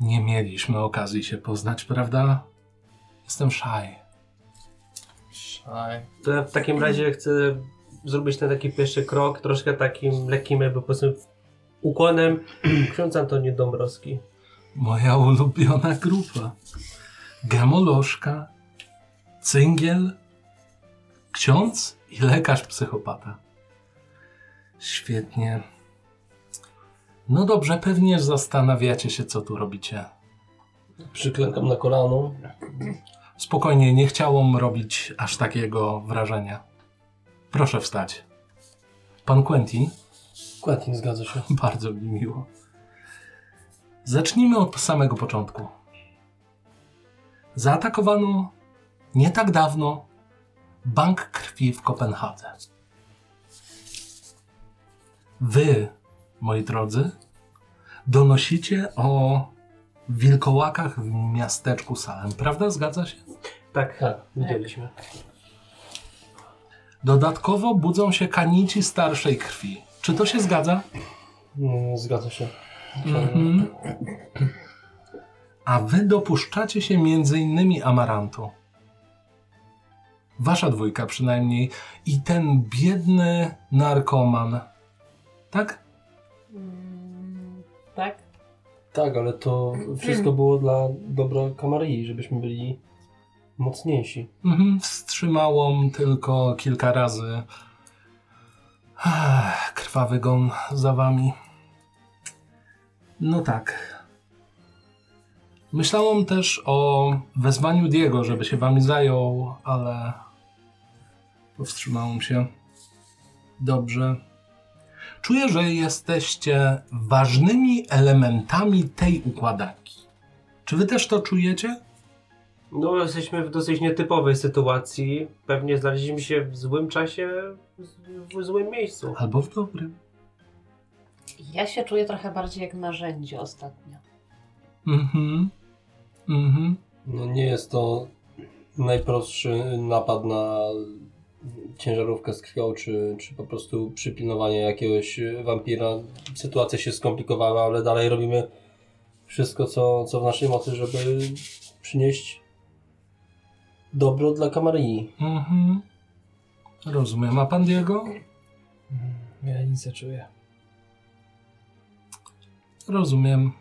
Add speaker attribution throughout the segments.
Speaker 1: Nie mieliśmy okazji się poznać, prawda? Jestem szaj.
Speaker 2: Szaj.
Speaker 3: To ja w takim razie chcę zrobić ten taki pierwszy krok, troszkę takim lekkim, jakby powiedzmy ukłonem. Ksiądz Antoni Dąbrowski.
Speaker 1: Moja ulubiona grupa. Gemolożka, cyngiel, ksiądz i lekarz psychopata. Świetnie. No dobrze, pewnie zastanawiacie się, co tu robicie.
Speaker 2: Przyklękam na kolano.
Speaker 1: Spokojnie, nie chciałam robić aż takiego wrażenia. Proszę wstać. Pan Quentin,
Speaker 2: Quentin, zgadza się.
Speaker 1: bardzo mi miło. Zacznijmy od samego początku. Zaatakowano nie tak dawno bank krwi w Kopenhadze. Wy, moi drodzy, donosicie o wilkołakach w miasteczku Salem, prawda? Zgadza się?
Speaker 3: Tak,
Speaker 2: Tak, widzieliśmy.
Speaker 1: Dodatkowo budzą się kanici starszej krwi. Czy to się zgadza?
Speaker 2: Mm, Zgadza się.
Speaker 1: Mhm. A wy dopuszczacie się między innymi amarantu. Wasza dwójka przynajmniej i ten biedny narkoman. Tak?
Speaker 4: Mm, tak?
Speaker 2: Tak, ale to wszystko było dla dobra Kamarii, żebyśmy byli mocniejsi.
Speaker 1: Mhm. Wstrzymałam tylko kilka razy. Ach, Krwawy gon za wami. No tak. Myślałam też o wezwaniu Diego, żeby się wami zajął, ale powstrzymałam się. Dobrze. Czuję, że jesteście ważnymi elementami tej układanki. Czy wy też to czujecie?
Speaker 3: no jesteśmy w dosyć nietypowej sytuacji. Pewnie znaleźliśmy się w złym czasie, w- w złym miejscu.
Speaker 1: Albo w dobrym.
Speaker 4: Ja się czuję trochę bardziej jak narzędzie ostatnio.
Speaker 1: Mhm. Mhm.
Speaker 2: No nie jest to najprostszy napad na ciężarówkę z krwią, czy, czy po prostu przypilnowanie jakiegoś wampira. Sytuacja się skomplikowała, ale dalej robimy wszystko, co, co w naszej mocy, żeby przynieść dobro dla Kamarii.
Speaker 1: Mhm. Rozumiem. A pan Diego?
Speaker 5: Mhm. Ja nic nie czuję.
Speaker 1: Rozumiem.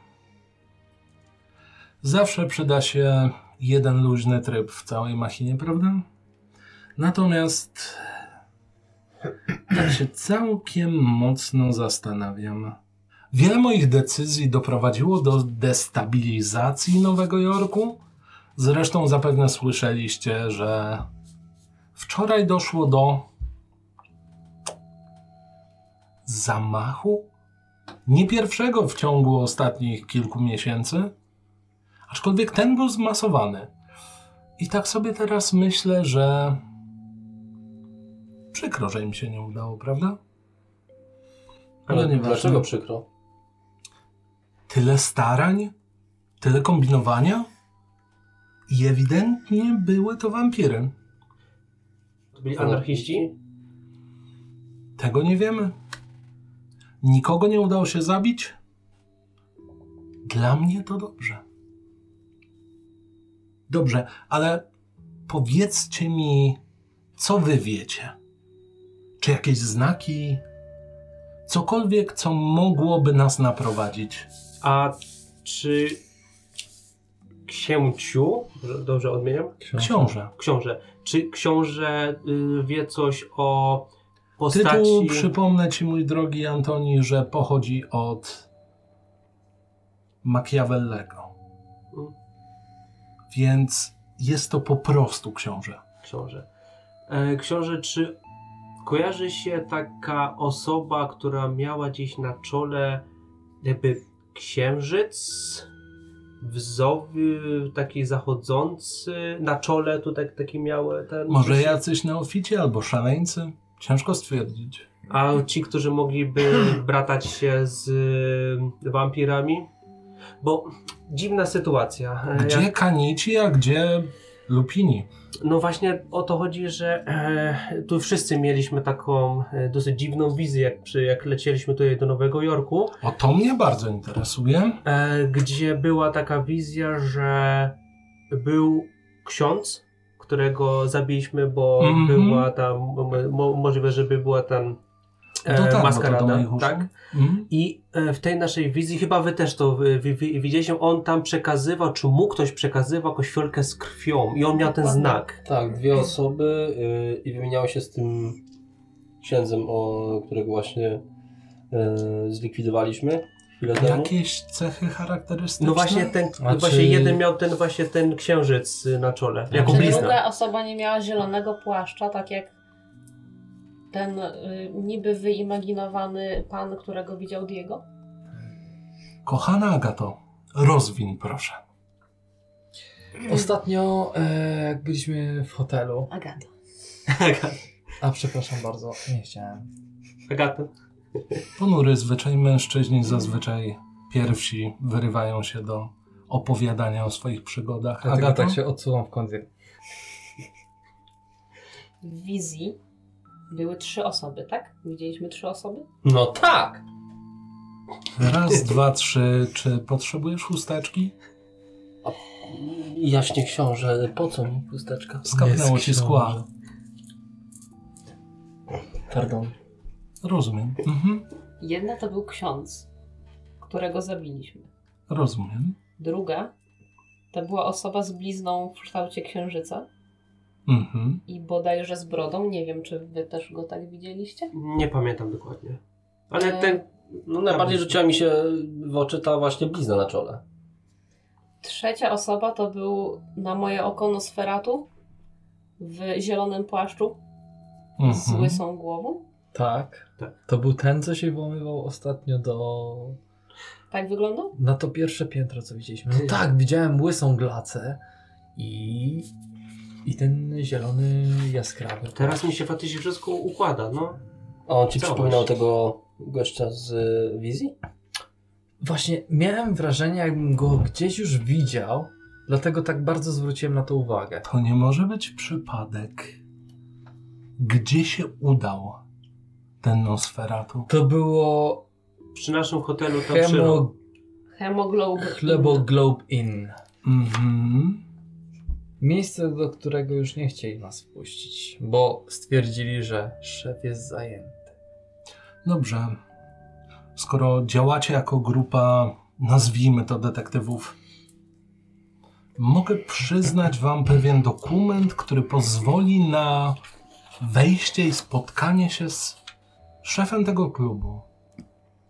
Speaker 1: Zawsze przyda się jeden luźny tryb w całej machinie, prawda? Natomiast tak się całkiem mocno zastanawiam. Wiele moich decyzji doprowadziło do destabilizacji Nowego Jorku. Zresztą zapewne słyszeliście, że wczoraj doszło do zamachu nie pierwszego w ciągu ostatnich kilku miesięcy, aczkolwiek ten był zmasowany. I tak sobie teraz myślę, że przykro, że im się nie udało, prawda?
Speaker 3: No
Speaker 2: Ale
Speaker 1: nieważne.
Speaker 2: dlaczego przykro?
Speaker 1: Tyle starań, tyle kombinowania i ewidentnie były to wampiry.
Speaker 3: To byli anarchiści?
Speaker 1: Tego nie wiemy. Nikogo nie udało się zabić. Dla mnie to dobrze. Dobrze, ale powiedzcie mi, co wy wiecie? Czy jakieś znaki? Cokolwiek, co mogłoby nas naprowadzić.
Speaker 3: A czy księciu, dobrze- dobrze odmieniam?
Speaker 1: Książę.
Speaker 3: Książę. Czy książę y, wie coś o postaci...
Speaker 1: Tytuł, przypomnę ci, mój drogi Antoni, że pochodzi od Machiavellego.
Speaker 3: Mm.
Speaker 1: Więc jest to po prostu książę.
Speaker 3: Książę. E, książę, czy kojarzy się taka osoba, która miała gdzieś na czole jakby księżyc? Wzowy taki zachodzący, na czole tutaj taki miały ten...
Speaker 1: Może jacyś neofici albo szaleńcy? Ciężko stwierdzić.
Speaker 3: A ci, którzy mogliby bratać się z y, wampirami? Bo dziwna sytuacja. E,
Speaker 1: Gdzie kanici, a gdzie Lupini.
Speaker 3: No właśnie o to chodzi, że e, tu wszyscy mieliśmy taką e, dosyć dziwną wizję, jak, przy, jak lecieliśmy tutaj do Nowego Jorku,
Speaker 1: O to mnie bardzo interesuje.
Speaker 3: e, gdzie była taka wizja, że był ksiądz, którego zabiliśmy, bo
Speaker 1: Mhm.
Speaker 3: była tam, mo- mo, możliwe, żeby była tam e,
Speaker 1: Dotarło No to do
Speaker 3: maskarada,
Speaker 1: moich uszu.
Speaker 3: tak?
Speaker 1: Mm.
Speaker 3: I e, w tej naszej wizji, chyba wy też to wy, wy, wy, widzieliście, on tam przekazywał, czy mu ktoś przekazywał kościolkę z krwią i on miał ten
Speaker 4: Dokładnie.
Speaker 3: znak.
Speaker 2: Tak, dwie osoby y, i wymieniały się z tym księdzem, o, którego właśnie y, zlikwidowaliśmy chwilę temu.
Speaker 1: Jakieś cechy charakterystyczne?
Speaker 3: No właśnie ten,
Speaker 2: A
Speaker 3: właśnie
Speaker 2: czy-
Speaker 3: jeden miał ten właśnie ten księżyc y, na czole, jako
Speaker 4: Czy
Speaker 3: blizna.
Speaker 4: druga osoba nie miała zielonego płaszcza, tak jak ten y, niby wyimaginowany pan, którego widział Diego?
Speaker 1: Kochana Agato, rozwin proszę.
Speaker 5: Ostatnio, e, jak byliśmy w hotelu,
Speaker 4: Agata.
Speaker 5: a przepraszam bardzo, nie chciałem.
Speaker 3: Agata.
Speaker 1: Ponury zwyczaj mężczyźni zazwyczaj pierwsi wyrywają się do opowiadania o swoich przygodach.
Speaker 5: Dlatego
Speaker 1: Agato?
Speaker 5: tak się odsuwam w kącie.
Speaker 4: W wizji były trzy osoby, tak? Widzieliśmy trzy osoby?
Speaker 2: No tak!
Speaker 1: Raz, dwa, trzy. Czy potrzebujesz chusteczki?
Speaker 2: Jaśnie książę, po co mi chusteczka?
Speaker 1: Skapnęło
Speaker 5: Jest
Speaker 1: ci skła.
Speaker 5: książę. Pardon.
Speaker 1: Rozumiem. Mhm.
Speaker 4: Jedna to był ksiądz, którego zabiliśmy.
Speaker 1: Rozumiem.
Speaker 4: Druga to była osoba z blizną w kształcie księżyca
Speaker 1: Mhm.
Speaker 4: i bodajże z brodą. Nie wiem, czy wy też go tak widzieliście?
Speaker 3: Nie pamiętam dokładnie. Ale
Speaker 4: E,
Speaker 3: ten.
Speaker 2: No najbardziej rzuciła mi się w oczy ta właśnie blizna na czole.
Speaker 4: Trzecia osoba to był na moje oko Nosferatu w zielonym płaszczu z
Speaker 1: Mhm.
Speaker 4: łysą głową.
Speaker 5: Tak.
Speaker 3: Tak.
Speaker 5: To był ten, co się włamywał ostatnio do...
Speaker 4: Tak wyglądał?
Speaker 5: na to pierwsze piętro, co widzieliśmy.
Speaker 3: Ty.
Speaker 5: No tak, widziałem łysą glacę i... i ten zielony jaskrawy.
Speaker 3: Teraz mi się faktycznie wszystko układa, no.
Speaker 2: A on ci
Speaker 3: Co
Speaker 2: przypominał
Speaker 3: właśnie?
Speaker 2: tego gościa z y, wizji?
Speaker 5: Właśnie miałem wrażenie, jakbym go gdzieś już widział, dlatego tak bardzo zwróciłem na to uwagę.
Speaker 1: To nie może być przypadek. Gdzie się udał ten Nosferatu?
Speaker 5: To było
Speaker 3: Przy naszym hotelu tam Hemo...
Speaker 5: Hemo
Speaker 4: Hemoglobe.
Speaker 5: Chlebo Globe Inn.
Speaker 1: Mhm.
Speaker 5: Miejsce, do którego już nie chcieli nas wpuścić, bo stwierdzili, że szef jest zajęty.
Speaker 1: Dobrze. Skoro działacie jako grupa, nazwijmy to detektywów, mogę przyznać Wam pewien dokument, który pozwoli na wejście i spotkanie się z szefem tego klubu.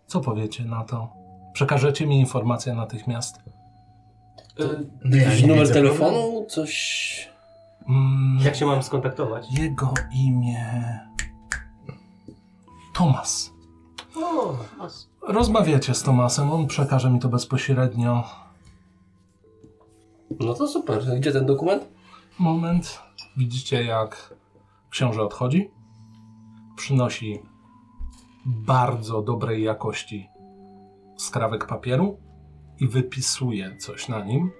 Speaker 1: Co powiecie na to? Przekażecie mi informację natychmiast.
Speaker 2: Jakiś numer telefonu? Coś...
Speaker 1: Mm,
Speaker 3: y, Jak się mam skontaktować?
Speaker 1: Jego imię. Tomas.
Speaker 3: O,
Speaker 4: Nos.
Speaker 1: Rozmawiacie z Tomasem, on przekaże mi to bezpośrednio.
Speaker 2: No to super. Gdzie ten dokument?
Speaker 1: Moment. Widzicie, jak książę odchodzi. Przynosi bardzo dobrej jakości skrawek papieru i wypisuje coś na nim.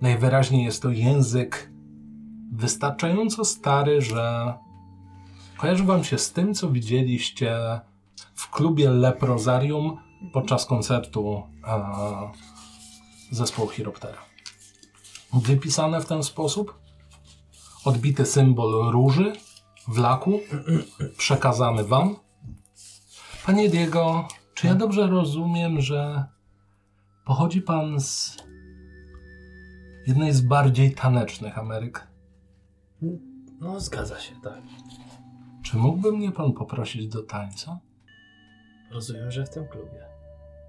Speaker 1: Najwyraźniej jest to język wystarczająco stary, że kojarzy wam się z tym, co widzieliście w klubie Leprozarium podczas koncertu e, zespołu Chiroptera wypisane w ten sposób. Odbity symbol róży w laku, przekazany wam. Panie Diego, czy ja dobrze rozumiem, że pochodzi pan z jednej z bardziej tanecznych Ameryk?
Speaker 5: No zgadza się, tak.
Speaker 1: Czy mógłby mnie pan poprosić do tańca?
Speaker 5: Rozumiem, że w tym klubie.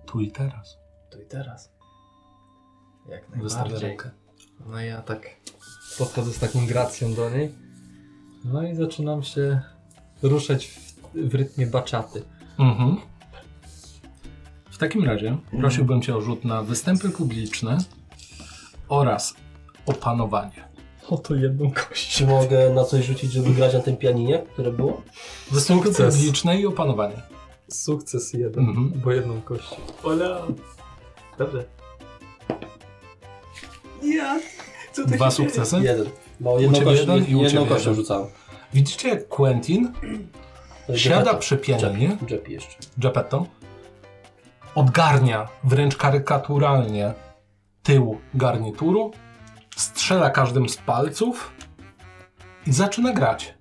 Speaker 1: Tu i teraz.
Speaker 5: Tu i teraz. Jak
Speaker 1: Wystawię
Speaker 5: najbardziej.
Speaker 1: rękę.
Speaker 5: No ja tak podchodzę z taką gracją do niej. No i zaczynam się ruszać w, w rytmie baczaty.
Speaker 1: Mhm. W takim razie prosiłbym cię o rzut na występy publiczne oraz opanowanie.
Speaker 5: Oto jedną kość.
Speaker 2: Czy mogę na coś rzucić, żeby grać na tym pianinie, które było?
Speaker 1: Występy
Speaker 5: Sukces.
Speaker 1: publiczne i opanowanie.
Speaker 5: Sukces jeden,
Speaker 1: Mhm.
Speaker 5: bo jedną kość.
Speaker 3: Ola. Dobrze. Co tu
Speaker 1: Dwa
Speaker 3: się dzieje?
Speaker 1: sukcesy.
Speaker 2: Jeden. Bo
Speaker 1: ciebie
Speaker 2: jedną kością,
Speaker 1: jeden i u
Speaker 2: jedną
Speaker 1: ciebie
Speaker 2: kością
Speaker 1: jeden.
Speaker 2: rzucałem.
Speaker 1: Widzicie, jak Quentin siada przepięknie,
Speaker 2: Jep jeszcze.
Speaker 1: Geppetto, odgarnia wręcz karykaturalnie tył garnituru, strzela każdym z palców i zaczyna grać.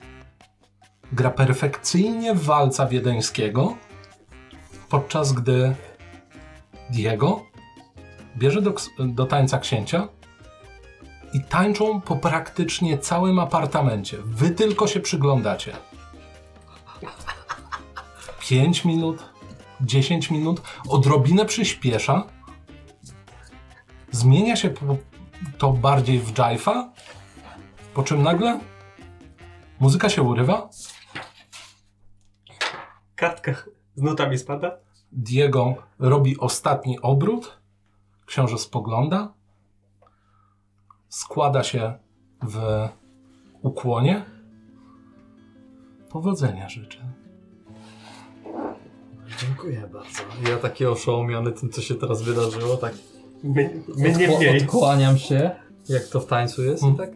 Speaker 1: Gra perfekcyjnie w walca wiedeńskiego, podczas gdy Diego bierze do, ks- do tańca księcia i tańczą po praktycznie całym apartamencie. Wy tylko się przyglądacie. 5 minut, 10 minut, odrobinę przyspiesza. Zmienia się po- to bardziej w jive'a, po czym nagle muzyka się urywa.
Speaker 3: Kartka z nutami spada.
Speaker 1: Diego robi ostatni obrót. Książę spogląda. Składa się w ukłonie. Powodzenia życzę.
Speaker 5: Dziękuję bardzo. Ja taki oszołomiony tym, co się teraz wydarzyło, tak
Speaker 3: My, my nie
Speaker 5: odkła-
Speaker 3: mniej.
Speaker 5: odkłaniam się, jak to w tańcu jest
Speaker 1: Mm.
Speaker 5: i tak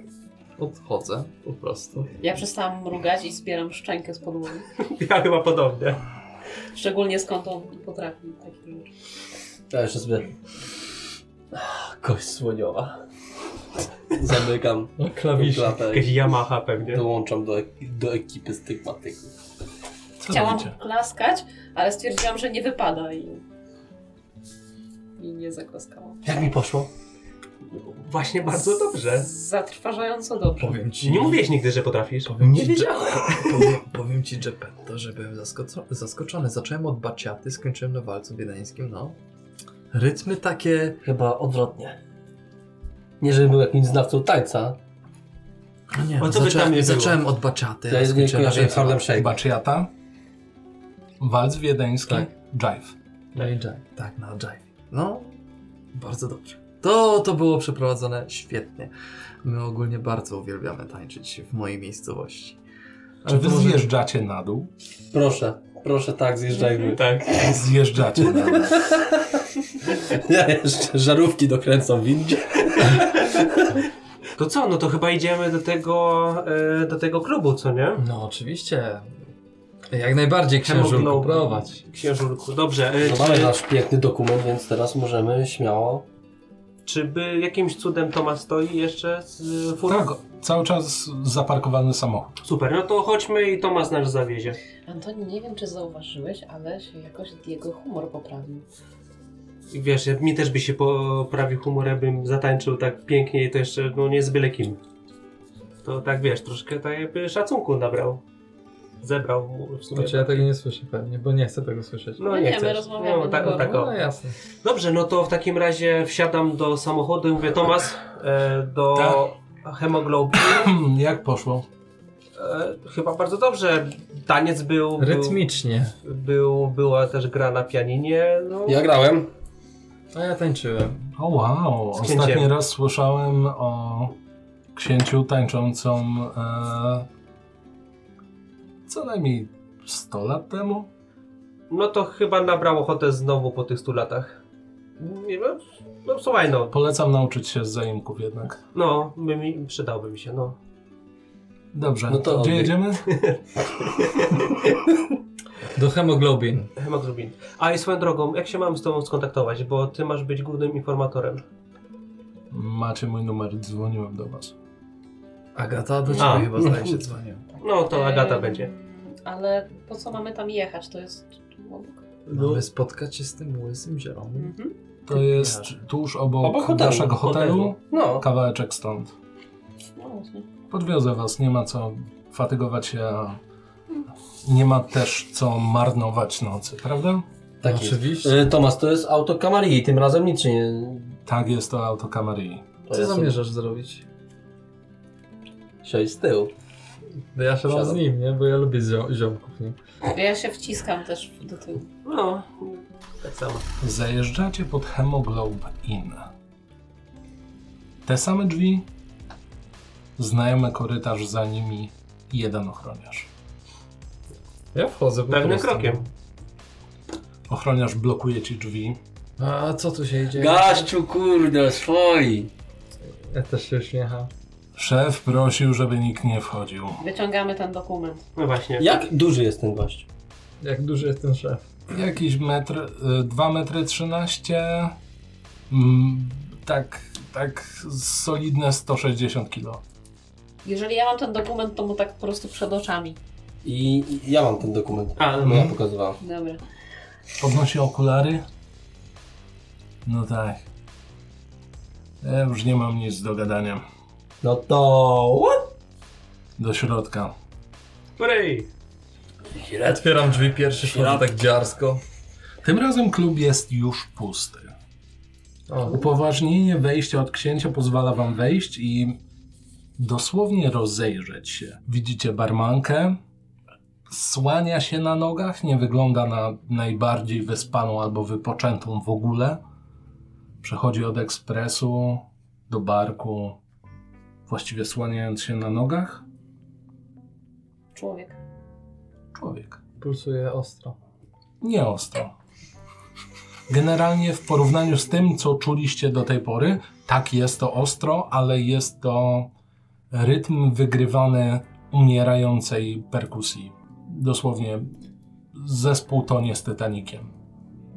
Speaker 5: odchodzę po prostu.
Speaker 4: Ja przestałam mrugać i zbieram szczękę z podłogi.
Speaker 3: Ja chyba podobnie.
Speaker 4: Szczególnie skąd on potrafi takie rzeczy.
Speaker 2: Ja jeszcze sobie... Ach, Kość słoniowa. Zamykam
Speaker 5: No, Klawisze.
Speaker 2: klapę
Speaker 3: Jakaś
Speaker 2: i
Speaker 3: Yamaha pewnie.
Speaker 2: dołączam do, ek- do ekipy stygmatyków.
Speaker 1: Co
Speaker 4: Chciałam
Speaker 1: robicie?
Speaker 4: klaskać, ale stwierdziłam, że nie wypada i... I nie zaklaskałam.
Speaker 2: Jak mi poszło?
Speaker 3: Właśnie bardzo dobrze.
Speaker 4: Zatrważająco dobrze.
Speaker 5: Powiem ci.
Speaker 3: Nie mówiłeś nigdy, że potrafisz.
Speaker 5: Powiem
Speaker 2: Nie
Speaker 5: ci, że-
Speaker 2: wiedziałem.
Speaker 5: Powiem, powiem ci, Geppetto, że byłem zaskoco- zaskoczony. Zacząłem od baciaty, skończyłem na walcu wiedeńskim, no. Rytmy takie...
Speaker 2: Chyba odwrotnie. Nie, żebym był jakimś znawcą tańca.
Speaker 5: No nie,
Speaker 3: O
Speaker 5: no,
Speaker 3: co by tam nie
Speaker 5: zacząłem,
Speaker 3: było?
Speaker 5: zacząłem od baciaty,
Speaker 2: Ja
Speaker 5: a
Speaker 2: jedynie
Speaker 5: skończyłem na
Speaker 2: kojarzę
Speaker 5: rytmie.
Speaker 2: Harlem Shake.
Speaker 1: Baczyata, walc wiedeński,
Speaker 5: Tak.
Speaker 1: jive.
Speaker 5: No i jive. Tak, na jive. No, bardzo dobrze. To, to było przeprowadzone świetnie. My ogólnie bardzo uwielbiamy tańczyć w mojej miejscowości.
Speaker 1: Czy wy
Speaker 5: to może-
Speaker 1: zjeżdżacie na dół?
Speaker 2: Proszę, proszę tak, zjeżdżajmy.
Speaker 3: Tak.
Speaker 1: Zjeżdżacie na dół.
Speaker 2: Ja jeszcze żarówki dokręcam w windzie.
Speaker 3: To co, no to chyba idziemy do tego, e, do tego klubu, co nie?
Speaker 5: No, oczywiście. Jak najbardziej księżu
Speaker 3: Hemoglobin.
Speaker 5: prowadź.
Speaker 3: Księżurku, dobrze. e,
Speaker 2: No mamy
Speaker 3: czy,
Speaker 2: nasz piękny dokument, więc teraz możemy śmiało.
Speaker 3: czy by jakimś cudem Tomasz stoi jeszcze z e, furą?
Speaker 1: Tak, cały czas zaparkowany samochód.
Speaker 3: Super, no to chodźmy i Tomasz nas zawiezie.
Speaker 4: Antoni, nie wiem, czy zauważyłeś, ale się jakoś jego humor poprawił.
Speaker 3: I Wiesz, jak mi też by się poprawił humor, jakbym zatańczył tak pięknie i to jeszcze no nie z byle kim. To tak wiesz, troszkę tak jakby szacunku nabrał. Zebrał mu w sumie.
Speaker 5: Znaczy ja tego nie słyszę pewnie, bo nie chcę tego słyszeć.
Speaker 3: No
Speaker 4: No
Speaker 3: nie,
Speaker 4: nie, my
Speaker 3: chcesz.
Speaker 4: rozmawiamy
Speaker 3: no, tak,
Speaker 4: do
Speaker 3: o, tak, o.
Speaker 5: No jasne.
Speaker 3: Dobrze, no to w takim razie wsiadam do samochodu i mówię Tomasz e, do
Speaker 5: Tak.
Speaker 3: hemoglobu.
Speaker 1: Hmm, Jak poszło?
Speaker 3: E, chyba bardzo dobrze. Taniec był. był-
Speaker 5: Rytmicznie.
Speaker 3: Był, była też gra na pianinie. No.
Speaker 2: Ja grałem.
Speaker 5: A ja tańczyłem.
Speaker 1: O wow,
Speaker 3: Z księciem.
Speaker 1: ostatni raz słyszałem o księciu tańczącą e, co najmniej 100 lat temu.
Speaker 3: no to chyba nabrał ochotę znowu po tych 100 latach. Nie wiem. No słuchaj, no.
Speaker 1: Polecam nauczyć się z zaimków jednak.
Speaker 3: No, by mi, przydałby mi się, no.
Speaker 1: Dobrze,
Speaker 2: No to
Speaker 1: gdzie
Speaker 2: odbieg.
Speaker 1: jedziemy?
Speaker 5: Do hemoglobin.
Speaker 3: Hemoglobin. A i swoją drogą, jak się mam z tobą skontaktować? Bo ty masz być głównym informatorem.
Speaker 1: Macie mój numer, dzwoniłem do was.
Speaker 5: Agata do
Speaker 3: ciebie A.
Speaker 5: chyba zdaje się dzwonił.
Speaker 3: No to Agata
Speaker 4: Em,
Speaker 3: będzie.
Speaker 4: Ale po co mamy tam jechać? To jest tu obok.
Speaker 3: No.
Speaker 5: Mamy spotkać się z tym łysym zielonym.
Speaker 4: Mhm.
Speaker 1: To jest tuż obok,
Speaker 2: Obok hotelu,
Speaker 1: naszego hotelu,
Speaker 2: No.
Speaker 1: kawałeczek stąd.
Speaker 4: No właśnie.
Speaker 1: Podwiozę was, nie ma co fatygować się, a nie ma też co marnować nocy, prawda?
Speaker 2: Tak jest.
Speaker 5: No, Oczywiście.
Speaker 3: E,
Speaker 2: Y, Tomasz, to jest auto Camarilli, tym razem nic się nie...
Speaker 1: Tak jest to auto Camarilla.
Speaker 2: To
Speaker 5: Co
Speaker 2: ja
Speaker 5: zamierzasz zrobić?
Speaker 2: sobie Siąść z tyłu.
Speaker 5: No ja się mam z
Speaker 2: Siadam.
Speaker 5: nim, nie? Bo ja lubię zio- ziomków, nie?
Speaker 4: Ja się wciskam też do tyłu.
Speaker 3: No, tak samo.
Speaker 1: Zajeżdżacie pod Hemoglobe Inn. Te same drzwi, znajomy korytarz za nimi, jeden ochroniarz.
Speaker 5: Ja wchodzę po
Speaker 3: Pewnym
Speaker 5: prostu.
Speaker 3: krokiem.
Speaker 1: Ochroniarz blokuje ci drzwi.
Speaker 5: A co tu się dzieje?
Speaker 2: Gaściu, kurde, swoi.
Speaker 5: Ja też się uśmiecham.
Speaker 1: Szef prosił, żeby nikt nie wchodził.
Speaker 4: Wyciągamy ten dokument.
Speaker 3: No właśnie.
Speaker 2: Jak duży jest ten gość?
Speaker 5: Jak duży jest ten szef?
Speaker 1: Jakiś metr, y, 2 metry 13, mm, tak, tak solidne 160 kilo.
Speaker 4: Jeżeli ja mam ten dokument, to mu tak po prostu przed oczami.
Speaker 2: I i ja mam ten dokument.
Speaker 3: A,
Speaker 2: No
Speaker 3: no.
Speaker 2: ja pokazywałem.
Speaker 4: Dobra.
Speaker 1: Podnosi okulary. No tak. Ja już nie mam nic do gadania.
Speaker 2: No to... What?
Speaker 1: Do środka.
Speaker 3: Pryj!
Speaker 5: Otwieram drzwi pierwszy, wchodzę tak dziarsko.
Speaker 1: Tym razem klub jest już pusty.
Speaker 5: O,
Speaker 1: Upoważnienie wejścia od księcia pozwala wam wejść i dosłownie rozejrzeć się. Widzicie barmankę, słania się na nogach, nie wygląda na najbardziej wyspaną albo wypoczętą w ogóle. Przechodzi od ekspresu do barku, właściwie słaniając się na nogach.
Speaker 4: Człowiek.
Speaker 1: Człowiek.
Speaker 5: pulsuje ostro.
Speaker 1: Nie ostro. Generalnie w porównaniu z tym, co czuliście do tej pory, tak jest to ostro, ale jest to rytm wygrywany umierającej perkusji. Dosłownie zespół tonie z Titanikiem.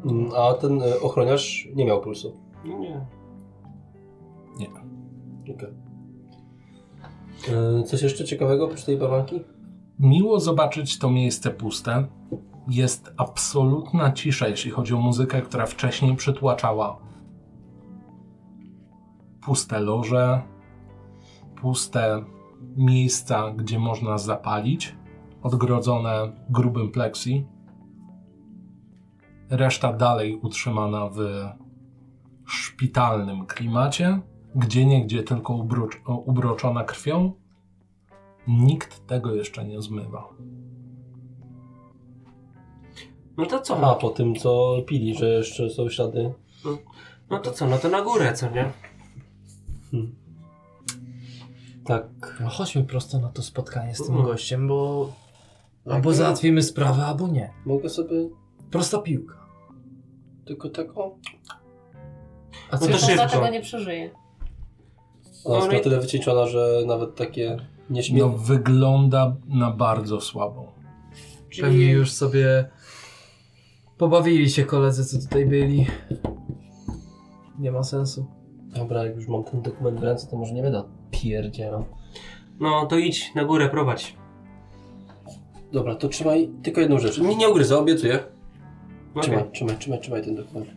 Speaker 2: Mm, A ten e, ochroniarz nie miał pulsu.
Speaker 3: Nie.
Speaker 2: Okej. E, Coś jeszcze ciekawego oprócz tej bawanki?
Speaker 1: Miło zobaczyć to miejsce puste. Jest absolutna cisza, jeśli chodzi o muzykę, która wcześniej przytłaczała. Puste loże, puste miejsca, gdzie można zapalić, odgrodzone grubym pleksji. Reszta dalej utrzymana w szpitalnym klimacie, gdzie niegdzie tylko ubrucz- ubroczona krwią, Nikt tego jeszcze nie zmywa.
Speaker 3: No to co?
Speaker 2: A
Speaker 3: No,
Speaker 2: po tym co pili, że jeszcze są ślady.
Speaker 3: no to co? No to na górę, co nie?
Speaker 2: Tak.
Speaker 5: No chodźmy prosto na to spotkanie z tym
Speaker 3: Mhm.
Speaker 5: gościem, bo
Speaker 2: Jakby-
Speaker 5: albo załatwimy sprawę, albo nie.
Speaker 2: Mogę sobie
Speaker 5: Prosta piłka.
Speaker 2: tylko taką?
Speaker 5: A
Speaker 3: No to
Speaker 5: jeszcze-
Speaker 4: Przecież
Speaker 3: szybko.
Speaker 4: on tego nie przeżyje.
Speaker 2: Ona jest
Speaker 3: No i-
Speaker 2: na tyle wycieńczona, że nawet takie
Speaker 1: No,
Speaker 2: nieśmielne.
Speaker 1: wygląda na bardzo słabą.
Speaker 5: Pewnie już sobie pobawili się koledzy, co tutaj byli. Nie ma sensu.
Speaker 2: Dobra, jak już mam ten dokument w ręce, to może nie będę pierdzielał.
Speaker 3: No to idź na górę, prowadź.
Speaker 2: Dobra, to trzymaj tylko jedną rzecz. Nie, nie ugryzę, obiecuję. Trzymaj,
Speaker 3: Okay.
Speaker 2: trzymaj, trzymaj, trzymaj ten dokument.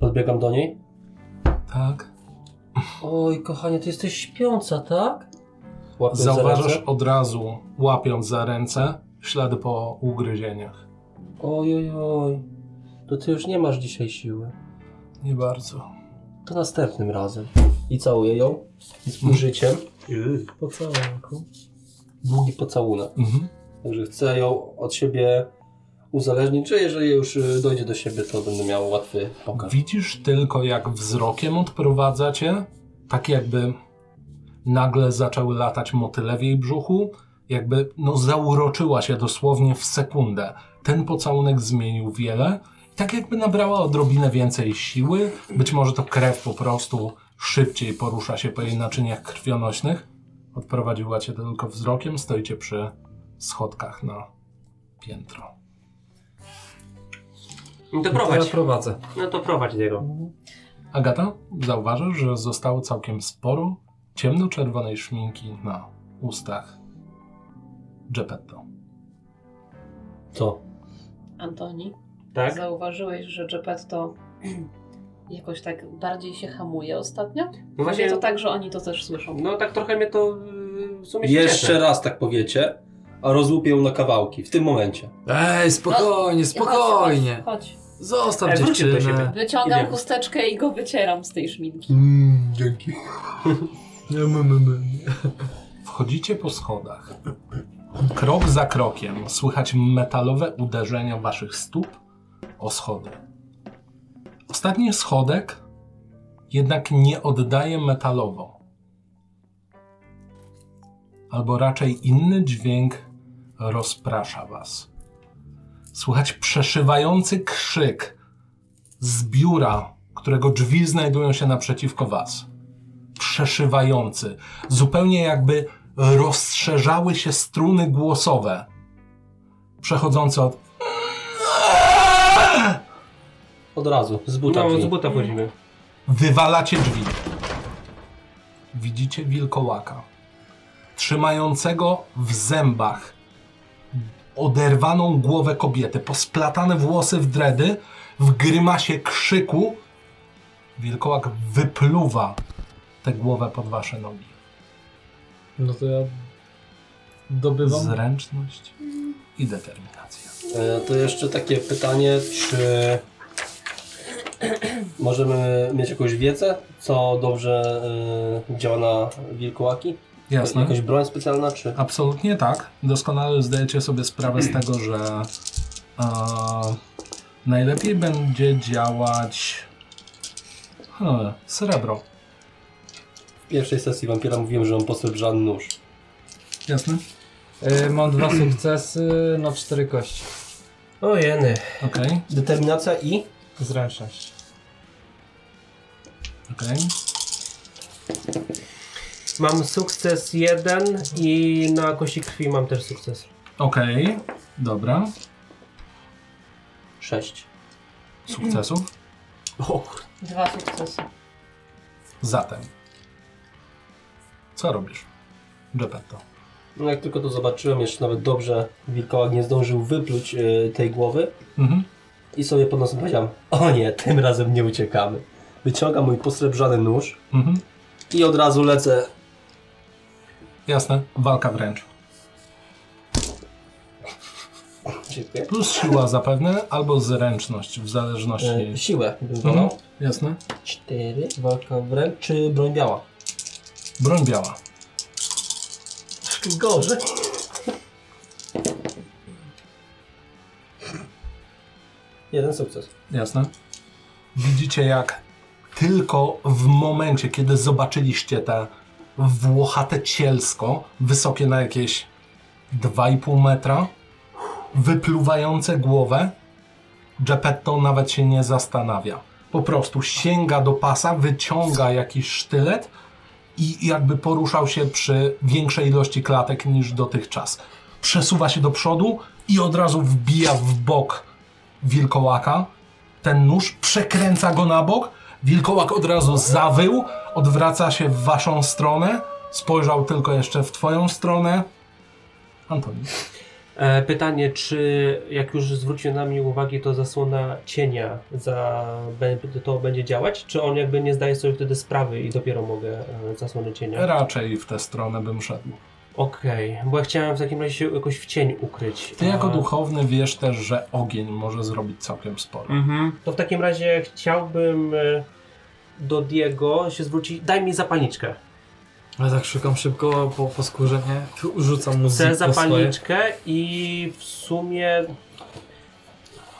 Speaker 2: Podbiegam do niej.
Speaker 1: Tak?
Speaker 2: Oj, kochanie, ty jesteś śpiąca, tak? Łapię
Speaker 1: Zauważasz
Speaker 2: za ręce.
Speaker 1: od razu, łapiąc za ręce, ślady po ugryzieniach.
Speaker 2: Oj, oj, oj. To ty już nie masz dzisiaj siły.
Speaker 1: Nie bardzo.
Speaker 2: To następnym razem. I całuję ją. I z użyciem.
Speaker 5: Po całunku.
Speaker 2: Długi pocałunek.
Speaker 1: Mhm.
Speaker 2: Także chcę ją od siebie uzależnić, że jeżeli już y, dojdzie do siebie, to będę miał łatwy pokaz.
Speaker 1: Widzisz tylko, jak wzrokiem odprowadza cię, tak jakby nagle zaczęły latać motyle w jej brzuchu, jakby no, zauroczyła się dosłownie w sekundę. Ten pocałunek zmienił wiele, tak jakby nabrała odrobinę więcej siły, być może to krew po prostu szybciej porusza się po jej naczyniach krwionośnych. Odprowadziła cię tylko wzrokiem, stoicie przy schodkach na piętro.
Speaker 3: No to
Speaker 5: Ja
Speaker 3: prowadź.
Speaker 5: prowadzę.
Speaker 3: No to prowadź jego.
Speaker 1: Agata, zauważasz, że zostało całkiem sporo ciemno-czerwonej szminki na ustach Geppetto.
Speaker 2: Co?
Speaker 4: Antoni,
Speaker 3: Tak?
Speaker 4: zauważyłeś, że Geppetto jakoś tak bardziej się hamuje ostatnio?
Speaker 3: No
Speaker 4: Właśnie
Speaker 3: właśnie.
Speaker 4: to tak, że oni to też słyszą.
Speaker 3: No tak trochę mnie to y, w sumie się
Speaker 2: Jeszcze
Speaker 3: cieszy.
Speaker 2: raz tak powiecie, a rozłupię ją na kawałki. W tym momencie.
Speaker 5: Ej,
Speaker 3: No,
Speaker 5: spokojnie, spokojnie.
Speaker 4: Chodź, chodź.
Speaker 5: Zostaw
Speaker 3: Ej, wróćmy do
Speaker 5: dziewczynę.
Speaker 3: siebie.
Speaker 4: Wyciągam
Speaker 3: Idziemy.
Speaker 4: chusteczkę i go wycieram z tej szminki.
Speaker 6: Mm,
Speaker 5: Mmm, dzięki. Nie, my, my, my.
Speaker 1: Wchodzicie po schodach. Krok za krokiem słychać metalowe uderzenia waszych stóp o schody. Ostatni schodek jednak nie oddaje metalowo. Albo raczej inny dźwięk rozprasza was. Słychać przeszywający krzyk z biura, którego drzwi znajdują się naprzeciwko was. przeszywający. Zupełnie jakby rozszerzały się struny głosowe, przechodzące od
Speaker 2: Od razu, z buta.
Speaker 3: No,
Speaker 2: drzwi.
Speaker 3: z buta wchodzimy.
Speaker 1: Wywalacie drzwi. Widzicie wilkołaka, trzymającego w zębach oderwaną głowę kobiety, posplatane włosy w dredy, w grymasie krzyku. Wilkołak wypluwa tę głowę pod wasze nogi.
Speaker 6: No to ja dobywam.
Speaker 1: Zręczność i determinacja.
Speaker 2: E, To jeszcze takie pytanie, czy możemy mieć jakąś wiedzę, co dobrze e, działa na wilkołaki?
Speaker 1: Jasne.
Speaker 2: Jakaś broń specjalna, czy...
Speaker 1: Absolutnie tak. Doskonale zdajecie sobie sprawę z tego, że e, najlepiej będzie działać hmm, srebro.
Speaker 2: W pierwszej sesji wampira mówiłem, że on posrebrzany nóż.
Speaker 1: Jasne?
Speaker 6: Y, mam dwa sukcesy na cztery kości.
Speaker 2: O jeny.
Speaker 1: Okej,
Speaker 2: Determinacja i...
Speaker 6: Zręczność.
Speaker 1: okej.
Speaker 3: Mam sukces jeden i na kości krwi mam też sukces.
Speaker 1: Okej, dobra.
Speaker 2: Sześć.
Speaker 1: Sukcesów.
Speaker 4: Dwa sukcesy.
Speaker 1: Zatem. Co robisz? Geppetto.
Speaker 2: No jak tylko to zobaczyłem, jeszcze nawet dobrze wilkołak nie zdążył wypluć e, tej głowy
Speaker 1: Mhm.
Speaker 2: i sobie pod nosem powiedziałem, o nie, tym razem nie uciekamy. Wyciągam mój posrebrzany nóż
Speaker 1: Mhm.
Speaker 2: i od razu lecę.
Speaker 1: Jasne, walka wręcz.
Speaker 2: Dziękuję. E,
Speaker 1: Plus siła zapewne, albo zręczność, w zależności.
Speaker 2: E, siłę bym
Speaker 1: Mhm.
Speaker 6: no.
Speaker 2: wolał.
Speaker 1: Jasne.
Speaker 2: Cztery, walka wręcz, czy broń biała?
Speaker 1: Broń biała.
Speaker 2: Gorzej. Jeden sukces.
Speaker 1: Jasne. Widzicie, jak tylko w momencie, kiedy zobaczyliście te włochate cielsko, wysokie na jakieś 2,5 metra, wypluwające głowę, Geppetto nawet się nie zastanawia. Po prostu sięga do pasa, wyciąga jakiś sztylet i jakby poruszał się przy większej ilości klatek niż dotychczas. Przesuwa się do przodu i od razu wbija w bok wilkołaka. Ten nóż przekręca go na bok. Wilkołak od razu zawył, odwraca się w waszą stronę, spojrzał tylko jeszcze w twoją stronę. Antoni.
Speaker 3: E, pytanie, czy jak już zwrócił na mnie uwagi, to zasłona cienia za, be- to będzie działać? Czy on jakby nie zdaje sobie wtedy sprawy i dopiero mogę e, zasłonę cienia?
Speaker 1: Raczej w tę stronę bym szedł.
Speaker 3: Okej, bo ja chciałem w takim razie się jakoś w cień ukryć.
Speaker 1: Ty jako
Speaker 3: A-
Speaker 1: duchowny wiesz też, że ogień może zrobić całkiem sporo.
Speaker 3: Mhm. To w takim razie chciałbym e, do Diego się zwrócić. Daj mi zapalniczkę.
Speaker 6: Ale tak szukam szybko po, po skórze, nie? Tu Rzucam mu
Speaker 3: Chcę
Speaker 6: zip po swoje.
Speaker 3: zapalniczkę i w sumie.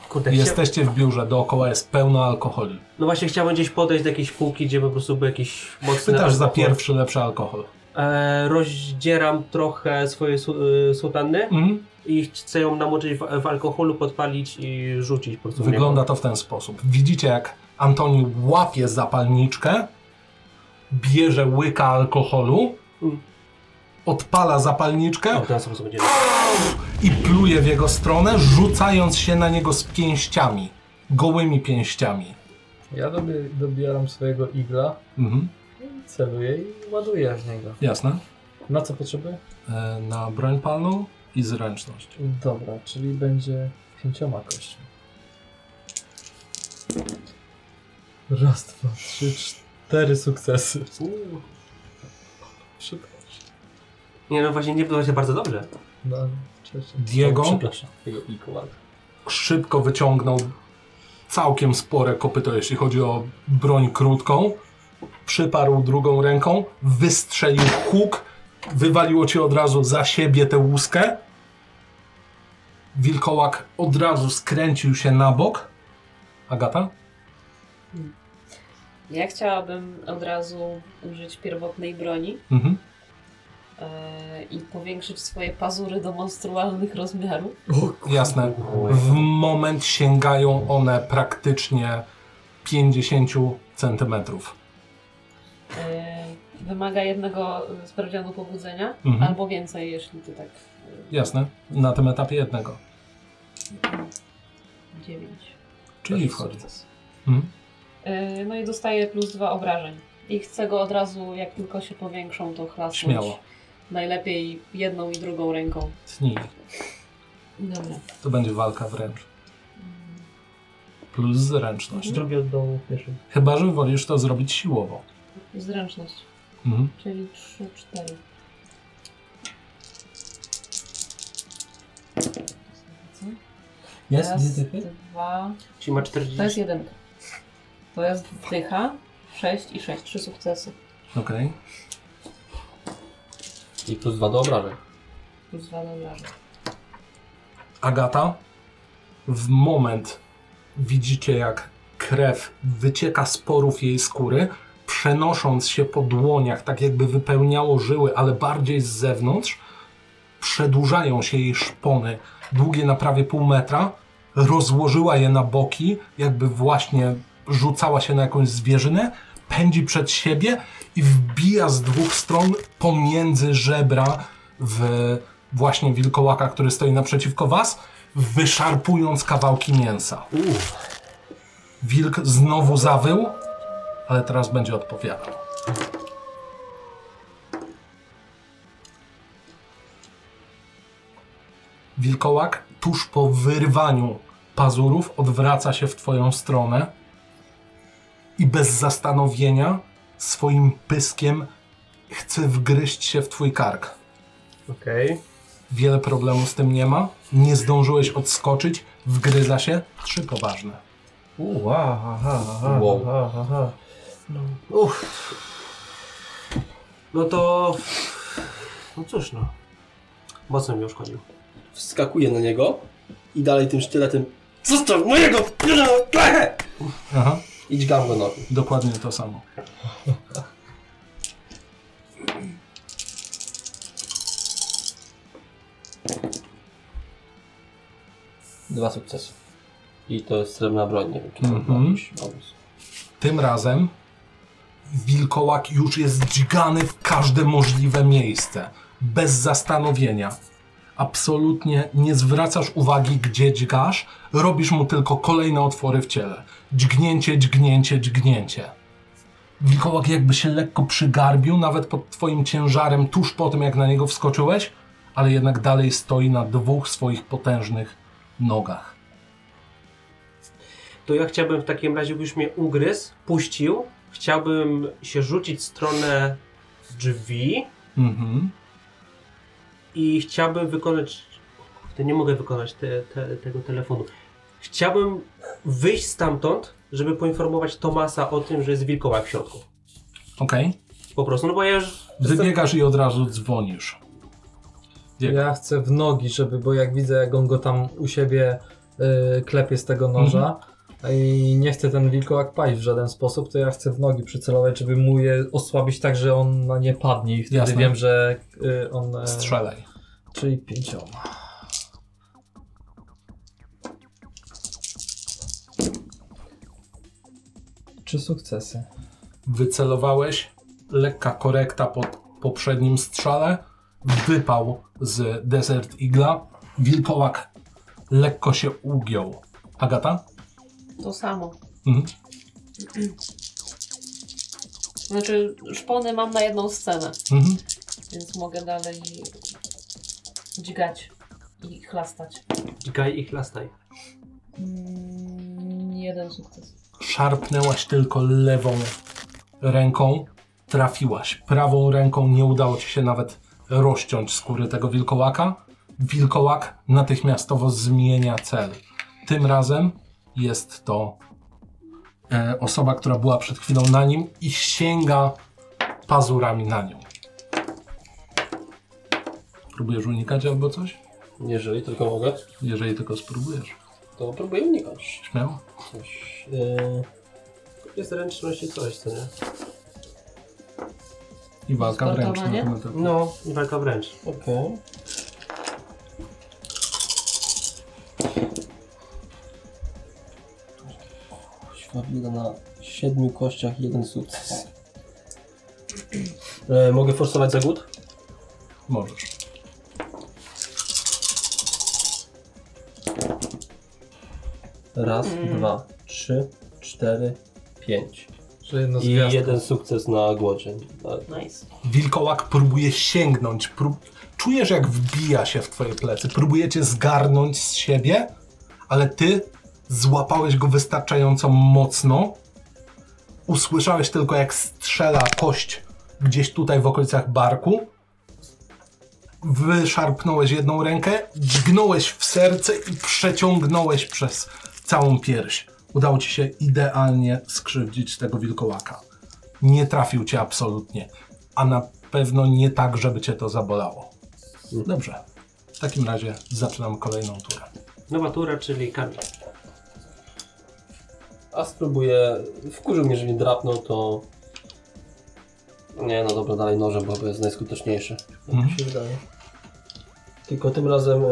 Speaker 3: Kurde, chcia...
Speaker 1: Jesteście w biurze, dookoła jest pełno alkoholi.
Speaker 3: No właśnie chciałem gdzieś podejść do jakiejś półki, gdzie po prostu był jakiś mocny.
Speaker 1: Pytasz za
Speaker 3: alkohol.
Speaker 1: pierwszy lepszy alkohol.
Speaker 3: E, rozdzieram trochę swojej su- e, sutanny
Speaker 1: Mhm.
Speaker 3: i chcę ją namoczyć w, w alkoholu, podpalić i rzucić po prostu. w niego.
Speaker 1: Wygląda to w ten sposób. Widzicie, jak Antoni łapie zapalniczkę, bierze łyka alkoholu,
Speaker 3: Mm.
Speaker 1: odpala zapalniczkę
Speaker 3: O, w ten sposób będzie.
Speaker 1: i pluje w jego stronę, rzucając się na niego z pięściami. Gołymi pięściami.
Speaker 6: Ja dobi- dobieram swojego igla,
Speaker 1: Mhm,
Speaker 6: celuję i ładuję w niego.
Speaker 1: jasne.
Speaker 6: Na co potrzebuję?
Speaker 1: E, na broń palną i zręczność.
Speaker 6: Dobra, Tak, czyli będzie pięcioma kośćmi. Raz, dwa, trzy, cztery sukcesy. Szybko.
Speaker 3: Nie no właśnie nie podoba się bardzo dobrze.
Speaker 6: No, ale wcześniej.
Speaker 1: Diego
Speaker 2: Przepraszam, jego ikołak.
Speaker 1: szybko wyciągnął całkiem spore kopyto, jeśli chodzi o broń krótką. Przyparł drugą ręką, wystrzelił huk, wywaliło ci od razu za siebie tę łuskę. Wilkołak od razu skręcił się na bok. Agata?
Speaker 4: Ja chciałabym od razu użyć pierwotnej broni
Speaker 1: Mhm.
Speaker 4: e, i powiększyć swoje pazury do monstrualnych rozmiarów.
Speaker 1: Jasne. W moment sięgają one praktycznie 50 centymetrów.
Speaker 4: E, Wymaga jednego y, sprawdzianu pobudzenia,
Speaker 1: Mhm.
Speaker 4: albo więcej, jeśli ty tak.
Speaker 1: Jasne, na tym etapie jednego.
Speaker 4: e, 9.
Speaker 1: Czyli
Speaker 5: Też
Speaker 1: wchodzi.
Speaker 5: sukces.
Speaker 1: Mhm.
Speaker 4: No i dostaje plus dwa obrażeń. I chcę go od razu, jak tylko się powiększą, to chlasnąć.
Speaker 1: Śmiało.
Speaker 4: Najlepiej jedną i drugą ręką.
Speaker 1: Tnij.
Speaker 4: Dobra.
Speaker 1: To będzie walka wręcz. Plus zręczność.
Speaker 3: Drugi od dołu, pierwszy.
Speaker 1: Chyba, że wolisz to zrobić siłowo.
Speaker 4: Zręczność,
Speaker 1: Mhm.
Speaker 4: czyli 3, 4.
Speaker 2: Jest?
Speaker 4: Raz,
Speaker 2: Gdzie ty?
Speaker 1: Mhm.
Speaker 4: dwa.
Speaker 3: Czyli ma
Speaker 4: To jest
Speaker 3: 40.
Speaker 4: jedynka. To jest wdycha, 6 i 6, 3 sukcesy.
Speaker 1: Okej.
Speaker 2: I plus dwa do obrażeń.
Speaker 4: Plus dwa do obrażeń.
Speaker 1: Agata, w moment widzicie, jak krew wycieka z porów jej skóry, przenosząc się po dłoniach, tak jakby wypełniało żyły, ale bardziej z zewnątrz. Przedłużają się jej szpony, długie na prawie pół metra. Rozłożyła je na boki, jakby właśnie rzucała się na jakąś zwierzynę, pędzi przed siebie i wbija z dwóch stron pomiędzy żebra w właśnie wilkołaka, który stoi naprzeciwko was, wyszarpując kawałki mięsa. Wilk znowu zawył, ale teraz będzie odpowiadał. Wilkołak tuż po wyrwaniu pazurów odwraca się w twoją stronę i bez zastanowienia swoim pyskiem chce wgryźć się w twój kark.
Speaker 3: Okej.
Speaker 1: Wiele problemów z tym nie ma. Nie zdążyłeś odskoczyć, wgryza się. Trzy poważne.
Speaker 6: Ua, aha, aha,
Speaker 2: Wow.
Speaker 6: aha, aha. No, uff. No to... No cóż no.
Speaker 3: Mocno mi uszkodził.
Speaker 2: Wskakuje na niego i dalej tym sztyletem Zostaw mojego wkurzonego klechę!
Speaker 1: Aha,
Speaker 2: I dźgam go nogi.
Speaker 1: dokładnie to samo.
Speaker 2: Dwa sukcesy. I to jest srebrna broń, nie wiem czy
Speaker 1: Mhm.
Speaker 2: to ma jakiś bonus.
Speaker 1: Tym razem wilkołak już jest dźgany w każde możliwe miejsce. Bez zastanowienia. Absolutnie nie zwracasz uwagi, gdzie dźgasz. Robisz mu tylko kolejne otwory w ciele. Dźgnięcie, dźgnięcie, dźgnięcie. Wilkołak jakby się lekko przygarbił, nawet pod twoim ciężarem, tuż po tym, jak na niego wskoczyłeś, ale jednak dalej stoi na dwóch swoich potężnych nogach.
Speaker 3: To ja chciałbym w takim razie, byś mnie ugryzł, puścił. Chciałbym się rzucić w stronę drzwi
Speaker 1: Mhm.
Speaker 3: i chciałbym wykonać. To nie mogę wykonać te, te, tego telefonu. Chciałbym wyjść stamtąd, żeby poinformować Tomasa o tym, że jest wilkołak w środku.
Speaker 1: Okej.
Speaker 3: Po prostu, no bo ja już.
Speaker 1: Wybiegasz i od razu dzwonisz. Jak?
Speaker 6: Ja chcę w nogi, żeby, bo jak widzę, jak on go tam u siebie y, klepie z tego noża i nie chcę ten wilkołak paść w żaden sposób, to ja chcę w nogi przycelować, żeby mu je osłabić tak, że on na nie padnie i wtedy
Speaker 1: Jasne.
Speaker 6: wiem, że y, on... y,
Speaker 1: Strzelaj.
Speaker 6: Czyli pięcioma. Trzy sukcesy.
Speaker 1: Wycelowałeś, lekka korekta po poprzednim strzale, wypał z Desert Igla, wilkołak lekko się ugiął. Agata?
Speaker 4: To samo.
Speaker 1: Mhm.
Speaker 4: Znaczy, szpony mam na jedną scenę,
Speaker 1: Mhm.
Speaker 4: więc mogę dalej dźgać i chlastać.
Speaker 3: Dźgaj i chlastaj.
Speaker 4: Mm, jeden sukces.
Speaker 1: Szarpnęłaś tylko lewą ręką, trafiłaś. Prawą ręką nie udało ci się nawet rozciąć skóry tego wilkołaka. Wilkołak natychmiastowo zmienia cel. Tym razem jest to e, osoba, która była przed chwilą na nim i sięga pazurami na nią. Próbujesz unikać albo coś?
Speaker 2: Jeżeli tylko mogę,
Speaker 1: Jeżeli tylko spróbujesz.
Speaker 2: to próbuję unikać.
Speaker 1: Śmiało.
Speaker 2: Coś. Yy,
Speaker 3: Jest ręczność i coś, co nie?
Speaker 1: I walka wręcz.
Speaker 4: Sportowanie?
Speaker 1: na tym etapie.
Speaker 3: No, i walka wręcz.
Speaker 2: Okej. Świat na siedmiu kościach jeden sukces. E, mogę forsować zagód?
Speaker 1: Możesz.
Speaker 2: Raz,
Speaker 4: Mm.
Speaker 2: dwa, trzy, cztery, pięć.
Speaker 6: Że jedno z
Speaker 2: I
Speaker 6: gwiazdką.
Speaker 2: jeden sukces na głodzie. Tak.
Speaker 4: Nice.
Speaker 1: Wilkołak próbuje sięgnąć. Prób... Czujesz, jak wbija się w twoje plecy. Próbuje cię zgarnąć z siebie, ale ty złapałeś go wystarczająco mocno. Usłyszałeś tylko, jak strzela kość gdzieś tutaj w okolicach barku. Wyszarpnąłeś jedną rękę, dźgnąłeś w serce i przeciągnąłeś przez całą pierś. Udało ci się idealnie skrzywdzić tego wilkołaka. Nie trafił cię absolutnie a na pewno nie tak, żeby cię to zabolało. Dobrze. W takim razie zaczynam kolejną turę.
Speaker 3: Nowa tura, czyli Kamil.
Speaker 2: A spróbuję. Wkurzył mnie, że mnie drapnął, to. Nie, no dobra, dalej nożem, bo to jest najskuteczniejsze.
Speaker 1: Mhm.
Speaker 2: Tak Mi się wydaje. Tylko tym razem e,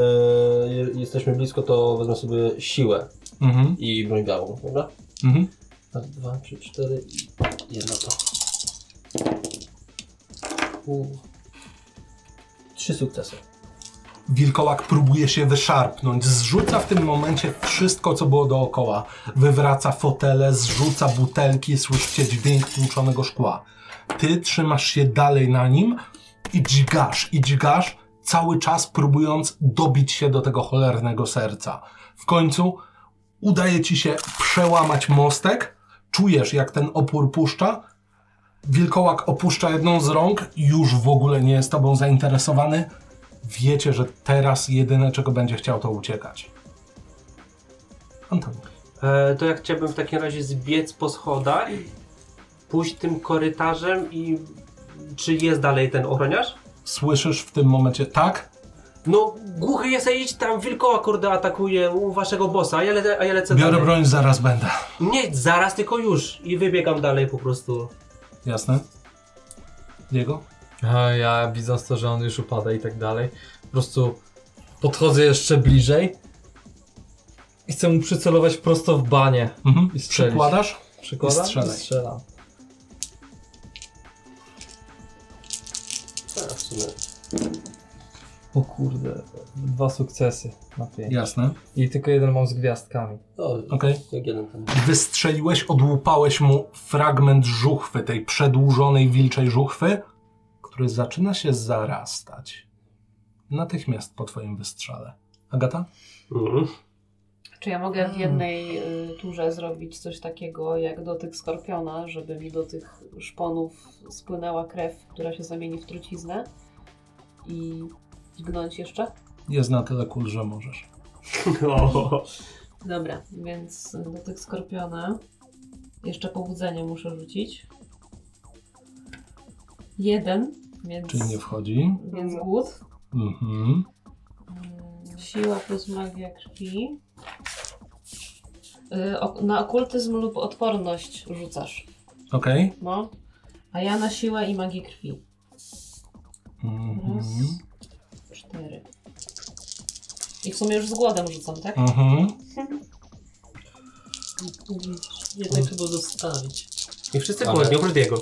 Speaker 2: je- jesteśmy blisko, to wezmę sobie siłę
Speaker 1: Mhm,
Speaker 2: i broń białą, dobra?
Speaker 1: mhm.
Speaker 2: Raz, dwa, trzy, cztery i jedno to. U. Trzy sukcesy.
Speaker 1: Wilkołak próbuje się wyszarpnąć, zrzuca w tym momencie wszystko, co było dookoła. Wywraca fotele, zrzuca butelki, słyszycie dźwięk tłuczonego szkła. Ty trzymasz się dalej na nim i dźgasz, i dźgasz, cały czas próbując dobić się do tego cholernego serca. W końcu udaje ci się przełamać mostek, czujesz jak ten opór puszcza, Wilkołak opuszcza jedną z rąk, już w ogóle nie jest tobą zainteresowany. Wiecie, że teraz jedyne czego będzie chciał to uciekać. Antoni.
Speaker 3: E, to ja chciałbym w takim razie zbiec po schodach, pójść tym korytarzem i... Czy jest dalej ten ochroniarz?
Speaker 1: Słyszysz w tym momencie tak?
Speaker 3: No, głuchy jest, idź tam, wilkoła kurde atakuje u waszego bossa, a ja, le, a ja lecę
Speaker 1: Biorę
Speaker 3: dalej.
Speaker 1: broń, zaraz będę.
Speaker 3: Nie, zaraz, tylko już. I wybiegam dalej po prostu.
Speaker 1: Jasne? Diego?
Speaker 6: A ja widząc to, że on już upada i tak dalej, po prostu podchodzę jeszcze bliżej i chcę mu przycelować prosto w banie.
Speaker 1: Mhm.
Speaker 6: I strzelić.
Speaker 1: Przykładasz?
Speaker 6: Przykładam?
Speaker 1: I strzelaj.
Speaker 6: Strzelam.
Speaker 2: A, Tak, w sumie.
Speaker 6: O kurde, dwa sukcesy na pięć.
Speaker 1: Jasne.
Speaker 6: I tylko jeden mam z gwiazdkami.
Speaker 2: No,
Speaker 1: Okej.
Speaker 2: jak jeden ten.
Speaker 1: Wystrzeliłeś, odłupałeś mu fragment żuchwy, tej przedłużonej wilczej żuchwy, który zaczyna się zarastać. Natychmiast po twoim wystrzale. Agata?
Speaker 3: Mhm.
Speaker 4: Czy ja mogę w jednej y, turze zrobić coś takiego jak dotyk skorpiona, żeby mi do tych szponów spłynęła krew, która się zamieni w truciznę i dźgnąć jeszcze?
Speaker 1: Jest na tyle kul, że możesz.
Speaker 3: O,
Speaker 4: Dobra, więc y, dotyk skorpiona. Jeszcze pobudzenie muszę rzucić. Jeden, więc,
Speaker 1: Czyli nie wchodzi.
Speaker 4: więc głód.
Speaker 1: Mhm.
Speaker 4: Mm, Siła plus magia krwi. Y, ok- Na okultyzm lub odporność rzucasz.
Speaker 1: Okej.
Speaker 4: No. A ja na siłę i magię krwi.
Speaker 1: Mhm.
Speaker 4: Raz, cztery. I w sumie już z głodem rzucam, tak?
Speaker 1: Mhm.
Speaker 4: Jednak trzeba zostawić.
Speaker 3: I wszyscy
Speaker 2: Ale-
Speaker 3: głodni, oprócz jego.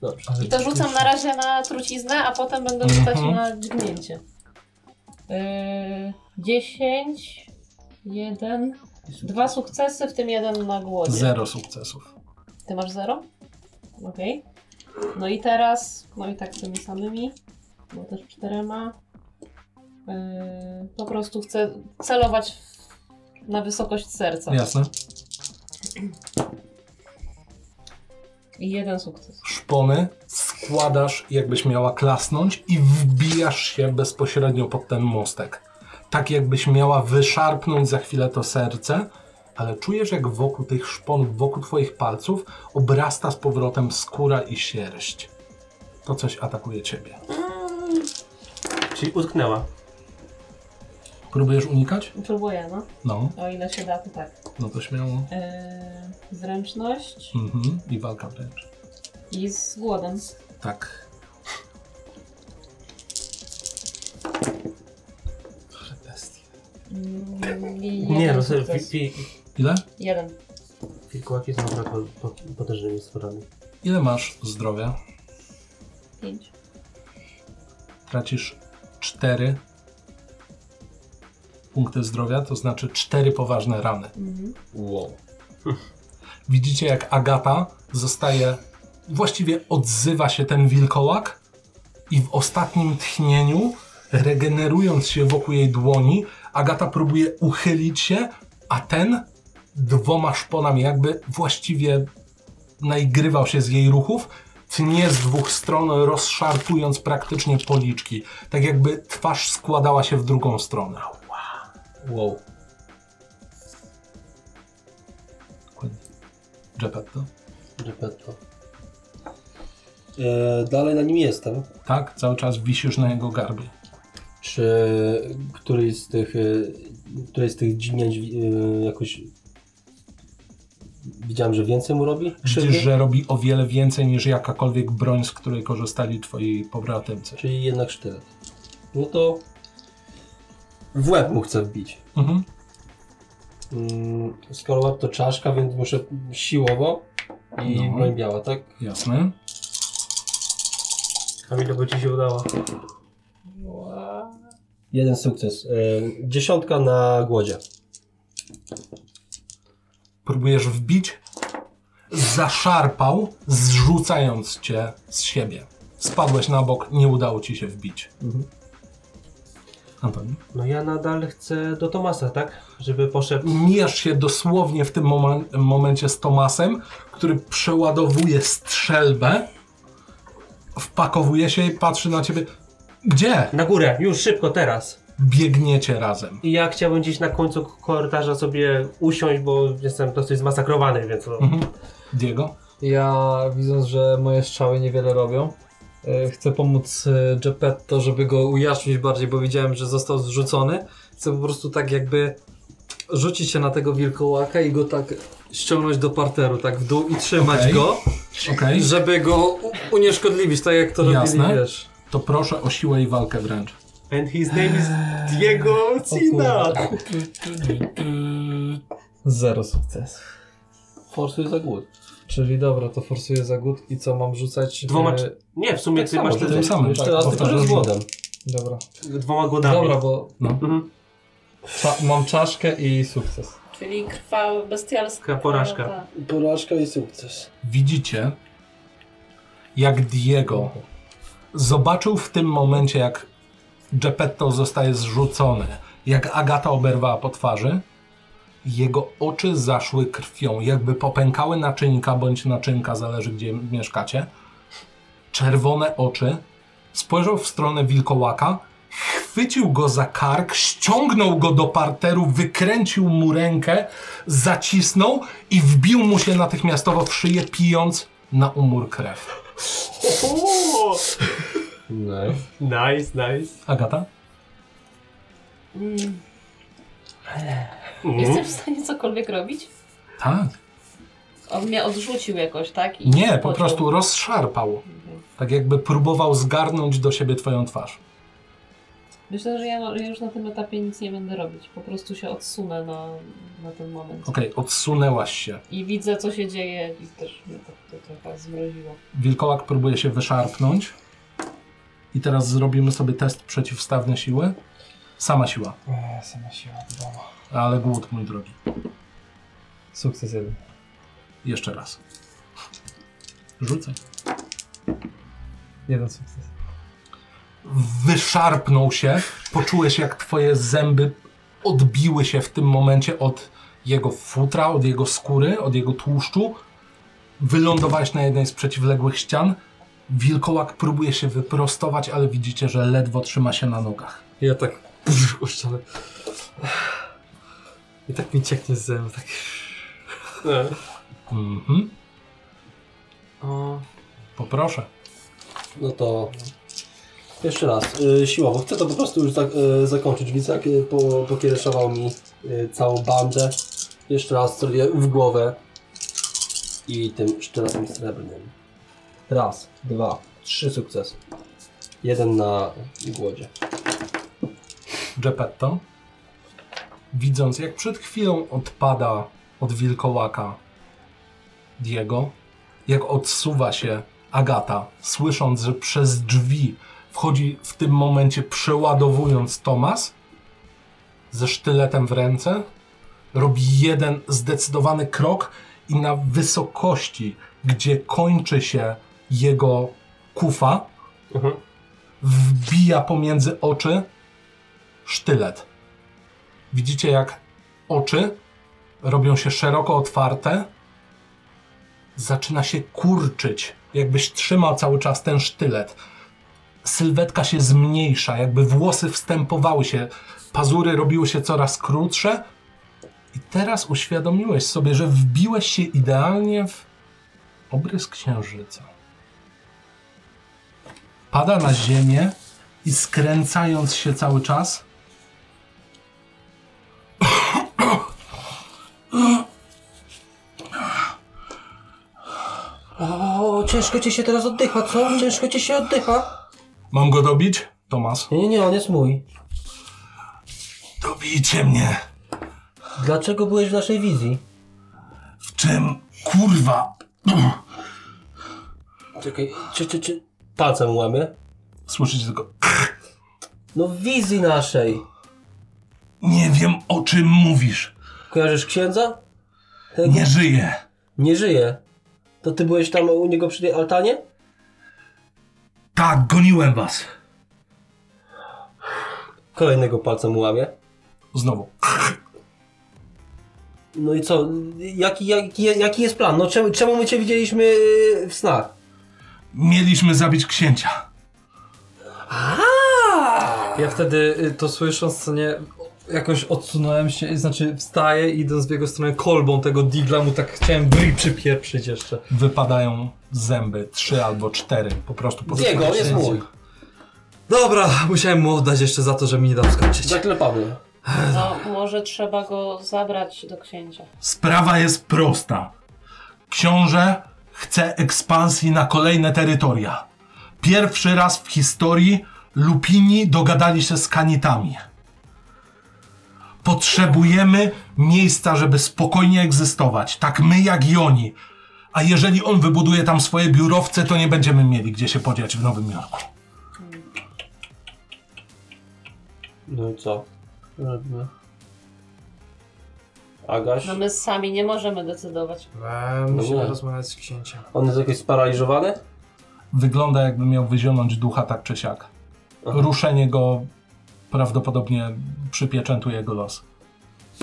Speaker 2: Dobrze.
Speaker 4: I to rzucam na razie na truciznę, a potem będę
Speaker 1: Mhm.
Speaker 4: rzucać na dźgnięcie. Yy, 10, 1, dwa sukcesy, w tym jeden na głodzie.
Speaker 1: Zero sukcesów.
Speaker 4: Ty masz 0? Okej. No i teraz, no i tak z tymi samymi, bo też czterema. Yy, po prostu chcę celować w, na wysokość serca.
Speaker 1: Jasne.
Speaker 4: I jeden sukces.
Speaker 1: Szpony składasz, jakbyś miała klasnąć i wbijasz się bezpośrednio pod ten mostek. Tak jakbyś miała wyszarpnąć za chwilę to serce, ale czujesz jak wokół tych szponów, wokół twoich palców obrasta z powrotem skóra i sierść. To coś atakuje ciebie.
Speaker 3: Czyli utknęła.
Speaker 1: Próbujesz unikać?
Speaker 4: Próbuję, no.
Speaker 1: No,
Speaker 4: O ile się da, to tak.
Speaker 1: no to śmiało.
Speaker 4: Yy, zręczność
Speaker 1: Mhm. I walka wręcz.
Speaker 4: i z głodem.
Speaker 1: Tak.
Speaker 4: Mm, i
Speaker 3: Nie,
Speaker 4: jeden
Speaker 3: no sobie
Speaker 4: sukces.
Speaker 3: wi- wi-
Speaker 1: Ile?
Speaker 4: Jeden.
Speaker 3: wilkołaki są naprawdę po- potężnymi stworami.
Speaker 1: Ile masz zdrowia?
Speaker 4: Pięć.
Speaker 1: Tracisz 4 punkty zdrowia, to znaczy 4 poważne rany.
Speaker 4: Mhm.
Speaker 2: Wow.
Speaker 1: Widzicie, jak Agata zostaje, właściwie odzywa się ten wilkołak i w ostatnim tchnieniu, regenerując się wokół jej dłoni, Agata próbuje uchylić się, a ten dwoma szponami jakby właściwie naigrywał się z jej ruchów, tnie z dwóch stron, rozszarpując praktycznie policzki. Tak jakby twarz składała się w drugą stronę.
Speaker 2: Wow.
Speaker 1: Geppetto?
Speaker 2: Repetto. E, dalej na nim jestem.
Speaker 1: Tak, cały czas wisisz na jego garbie.
Speaker 2: Czy któryś z tych, y, któryś z tych dzinięć y, jakoś widziałem, że więcej mu robi? krzywdy?
Speaker 1: Widzisz, że robi o wiele więcej niż jakakolwiek broń, z której korzystali twoi pobratymcy.
Speaker 2: Czyli jednak sztylet. No to w łeb mu chcę wbić.
Speaker 1: Mhm.
Speaker 2: Mm, skoro łeb to czaszka, więc muszę siłowo i
Speaker 1: No.
Speaker 2: broń biała, tak?
Speaker 1: Jasne.
Speaker 3: Kamilu, bo ci się udało.
Speaker 2: Jeden sukces. Y, dziesiątka na głodzie.
Speaker 1: Próbujesz wbić. Zaszarpał, zrzucając cię z siebie. Spadłeś na bok, nie udało ci się wbić. Antoni?
Speaker 3: No ja nadal chcę do Tomasa, tak? Żeby poszedł.
Speaker 1: Mijasz się dosłownie w tym momen- momencie z Tomasem, który przeładowuje strzelbę, wpakowuje się i patrzy na ciebie. Gdzie?
Speaker 3: Na górę, już szybko, teraz.
Speaker 1: Biegniecie razem.
Speaker 3: I ja chciałbym gdzieś na końcu korytarza sobie usiąść, bo jestem dosyć zmasakrowany, więc no.
Speaker 1: Mhm. Diego?
Speaker 6: Ja widząc, że moje strzały niewiele robią, e, chcę pomóc e, Geppetto, żeby go ujaśnić bardziej, bo widziałem, że został zrzucony. Chcę po prostu tak jakby rzucić się na tego wilkołaka i go tak ściągnąć do parteru, tak w dół i trzymać
Speaker 1: Okej.
Speaker 6: go,
Speaker 1: Okej.
Speaker 6: żeby go u- unieszkodliwić, tak jak to
Speaker 1: Jasne.
Speaker 6: robili, wiesz.
Speaker 1: To proszę o siłę i walkę wręcz.
Speaker 3: And his name is Diego Cina.
Speaker 6: Zero sukces.
Speaker 2: Forsuj za głód.
Speaker 6: Czyli dobra, to forsuję za gut i co mam rzucać?
Speaker 3: Dwoma
Speaker 6: E,
Speaker 3: czy- Nie, w sumie ty masz
Speaker 1: Tym
Speaker 3: ten
Speaker 1: samym.
Speaker 2: Jeszcze raz tylko, że z głodem.
Speaker 6: Dobra.
Speaker 3: dwoma godami.
Speaker 6: Dobra, bo
Speaker 3: Mhm.
Speaker 6: cza- mam czaszkę i sukces.
Speaker 4: Czyli krwawa, bestialska.
Speaker 3: Taka porażka.
Speaker 4: Tak.
Speaker 2: Porażka i sukces.
Speaker 1: Widzicie, jak Diego zobaczył w tym momencie, jak Geppetto zostaje zrzucony, jak Agata oberwała po twarzy, jego oczy zaszły krwią, jakby popękały naczynka bądź naczynka, zależy gdzie mieszkacie. Czerwone oczy, spojrzał w stronę wilkołaka, chwycił go za kark, ściągnął go do parteru, wykręcił mu rękę, zacisnął i wbił mu się natychmiastowo w szyję, pijąc na umór krew.
Speaker 3: O,
Speaker 2: No.
Speaker 3: nice, nice.
Speaker 1: Agata?
Speaker 4: Mm.
Speaker 3: Mhm.
Speaker 4: Jesteś w stanie cokolwiek robić?
Speaker 1: Tak.
Speaker 4: On mnie odrzucił jakoś, tak? I
Speaker 1: Nie, po
Speaker 4: pociął.
Speaker 1: prostu rozszarpał.
Speaker 4: Mhm.
Speaker 1: Tak jakby próbował zgarnąć do siebie twoją twarz.
Speaker 4: Myślę, że ja, ja już na tym etapie nic nie będę robić. Po prostu się odsunę na, na ten moment.
Speaker 1: Okej, odsunęłaś się.
Speaker 4: I widzę, co się dzieje i też mnie to, to trochę zmroziło.
Speaker 1: Wilkołak próbuje się wyszarpnąć. I teraz zrobimy sobie test przeciwstawny siły. Sama siła,
Speaker 6: Eee, sama siła, wiadomo.
Speaker 1: ale głód, mój drogi.
Speaker 6: Sukces jeden.
Speaker 1: Jeszcze raz. Rzucaj.
Speaker 6: Jeden sukces.
Speaker 1: wyszarpnął się. Poczułeś, jak twoje zęby odbiły się w tym momencie od jego futra, od jego skóry, od jego tłuszczu. Wylądowałeś na jednej z przeciwległych ścian. Wilkołak próbuje się wyprostować, ale widzicie, że ledwo trzyma się na nogach.
Speaker 6: Ja tak pff, uszczamy. I tak mi cieknie z zębów, tak.
Speaker 3: E,
Speaker 1: Mhm.
Speaker 3: o,
Speaker 1: Poproszę.
Speaker 2: No to jeszcze raz, y, siłowo. Chcę to po prostu już zak- y, zakończyć. Widzę, jak y, po, pokiereszował mi y, całą bandę. Jeszcze raz celuję w głowę i tym sztyletem srebrnym. Raz, dwa, trzy sukcesy. Jeden na głodzie.
Speaker 1: Geppetto, widząc jak przed chwilą odpada od wilkołaka Diego, jak odsuwa się Agata, słysząc, że przez drzwi wchodzi w tym momencie, przeładowując Tomas, ze sztyletem w ręce, robi jeden zdecydowany krok i na wysokości, gdzie kończy się jego kufa,
Speaker 3: Mhm.
Speaker 1: wbija pomiędzy oczy sztylet. Widzicie, jak oczy robią się szeroko otwarte. Zaczyna się kurczyć, jakbyś trzymał cały czas ten sztylet. Sylwetka się zmniejsza, jakby włosy wstępowały się, pazury robiły się coraz krótsze. I teraz uświadomiłeś sobie, że wbiłeś się idealnie w obrys księżyca pada na ziemię i skręcając się cały czas.
Speaker 2: O, ciężko ci się teraz oddycha, co? Ciężko ci się oddycha.
Speaker 1: Mam go dobić? Tomas.
Speaker 2: Nie, nie, nie, on jest mój.
Speaker 1: Dobijcie mnie.
Speaker 2: Dlaczego byłeś w naszej wizji?
Speaker 1: W czym? Kurwa.
Speaker 2: Czekaj, czy, czy, czy... Palcem łamy?
Speaker 1: Słyszycie tylko.
Speaker 2: No w wizji naszej.
Speaker 1: Nie wiem o czym mówisz.
Speaker 2: Kojarzysz księdza? Tego-
Speaker 1: Nie żyję.
Speaker 2: Nie żyje. To ty byłeś tam u niego przy tej altanie?
Speaker 1: Tak, goniłem was.
Speaker 2: Kolejnego palcem łamie.
Speaker 1: Znowu.
Speaker 2: No i co? Jaki, jaki, jaki jest plan? No czemu, czemu my cię widzieliśmy yy, w snach?
Speaker 1: Mieliśmy zabić księcia.
Speaker 6: Ja wtedy y, to słysząc, co nie, jakoś odsunąłem się, i znaczy wstaję i idąc w jego stronę kolbą tego digla mu tak chciałem bryj przypieprzyć jeszcze.
Speaker 1: Wypadają zęby, trzy albo cztery, po prostu po
Speaker 2: Diego,
Speaker 1: prostu-
Speaker 2: jest mój.
Speaker 6: Dobra, musiałem mu oddać jeszcze za to, że mi nie dał skończyć.
Speaker 2: Zaklepamy.
Speaker 4: No, może trzeba go zabrać do księcia.
Speaker 1: Sprawa jest prosta. Książę chce ekspansji na kolejne terytoria. Pierwszy raz w historii Lupini dogadali się z kanitami. Potrzebujemy miejsca, żeby spokojnie egzystować, tak my jak i oni. A jeżeli on wybuduje tam swoje biurowce, to nie będziemy mieli gdzie się podziać w Nowym Jorku.
Speaker 2: No i co? Robimy. Agaś?
Speaker 4: No my sami nie możemy decydować.
Speaker 5: Eee,
Speaker 6: No
Speaker 5: musimy
Speaker 2: nie.
Speaker 5: rozmawiać z księciem.
Speaker 2: On jest jakoś sparaliżowany?
Speaker 1: Wygląda jakby miał wyzionąć ducha tak czy siak. Ruszenie go prawdopodobnie przypieczętuje jego los.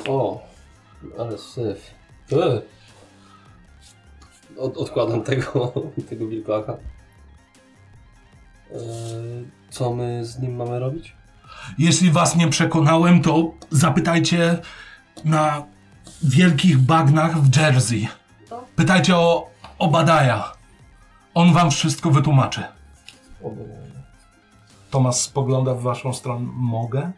Speaker 2: O, ale syf. Ty. Od, odkładam tego, tego wilkołaka. Eee, co my z nim mamy robić?
Speaker 1: Jeśli was nie przekonałem, to zapytajcie na wielkich bagnach w Jersey. Pytajcie o Obadaja. On wam wszystko wytłumaczy. Tomas spogląda w waszą stronę. Mogę?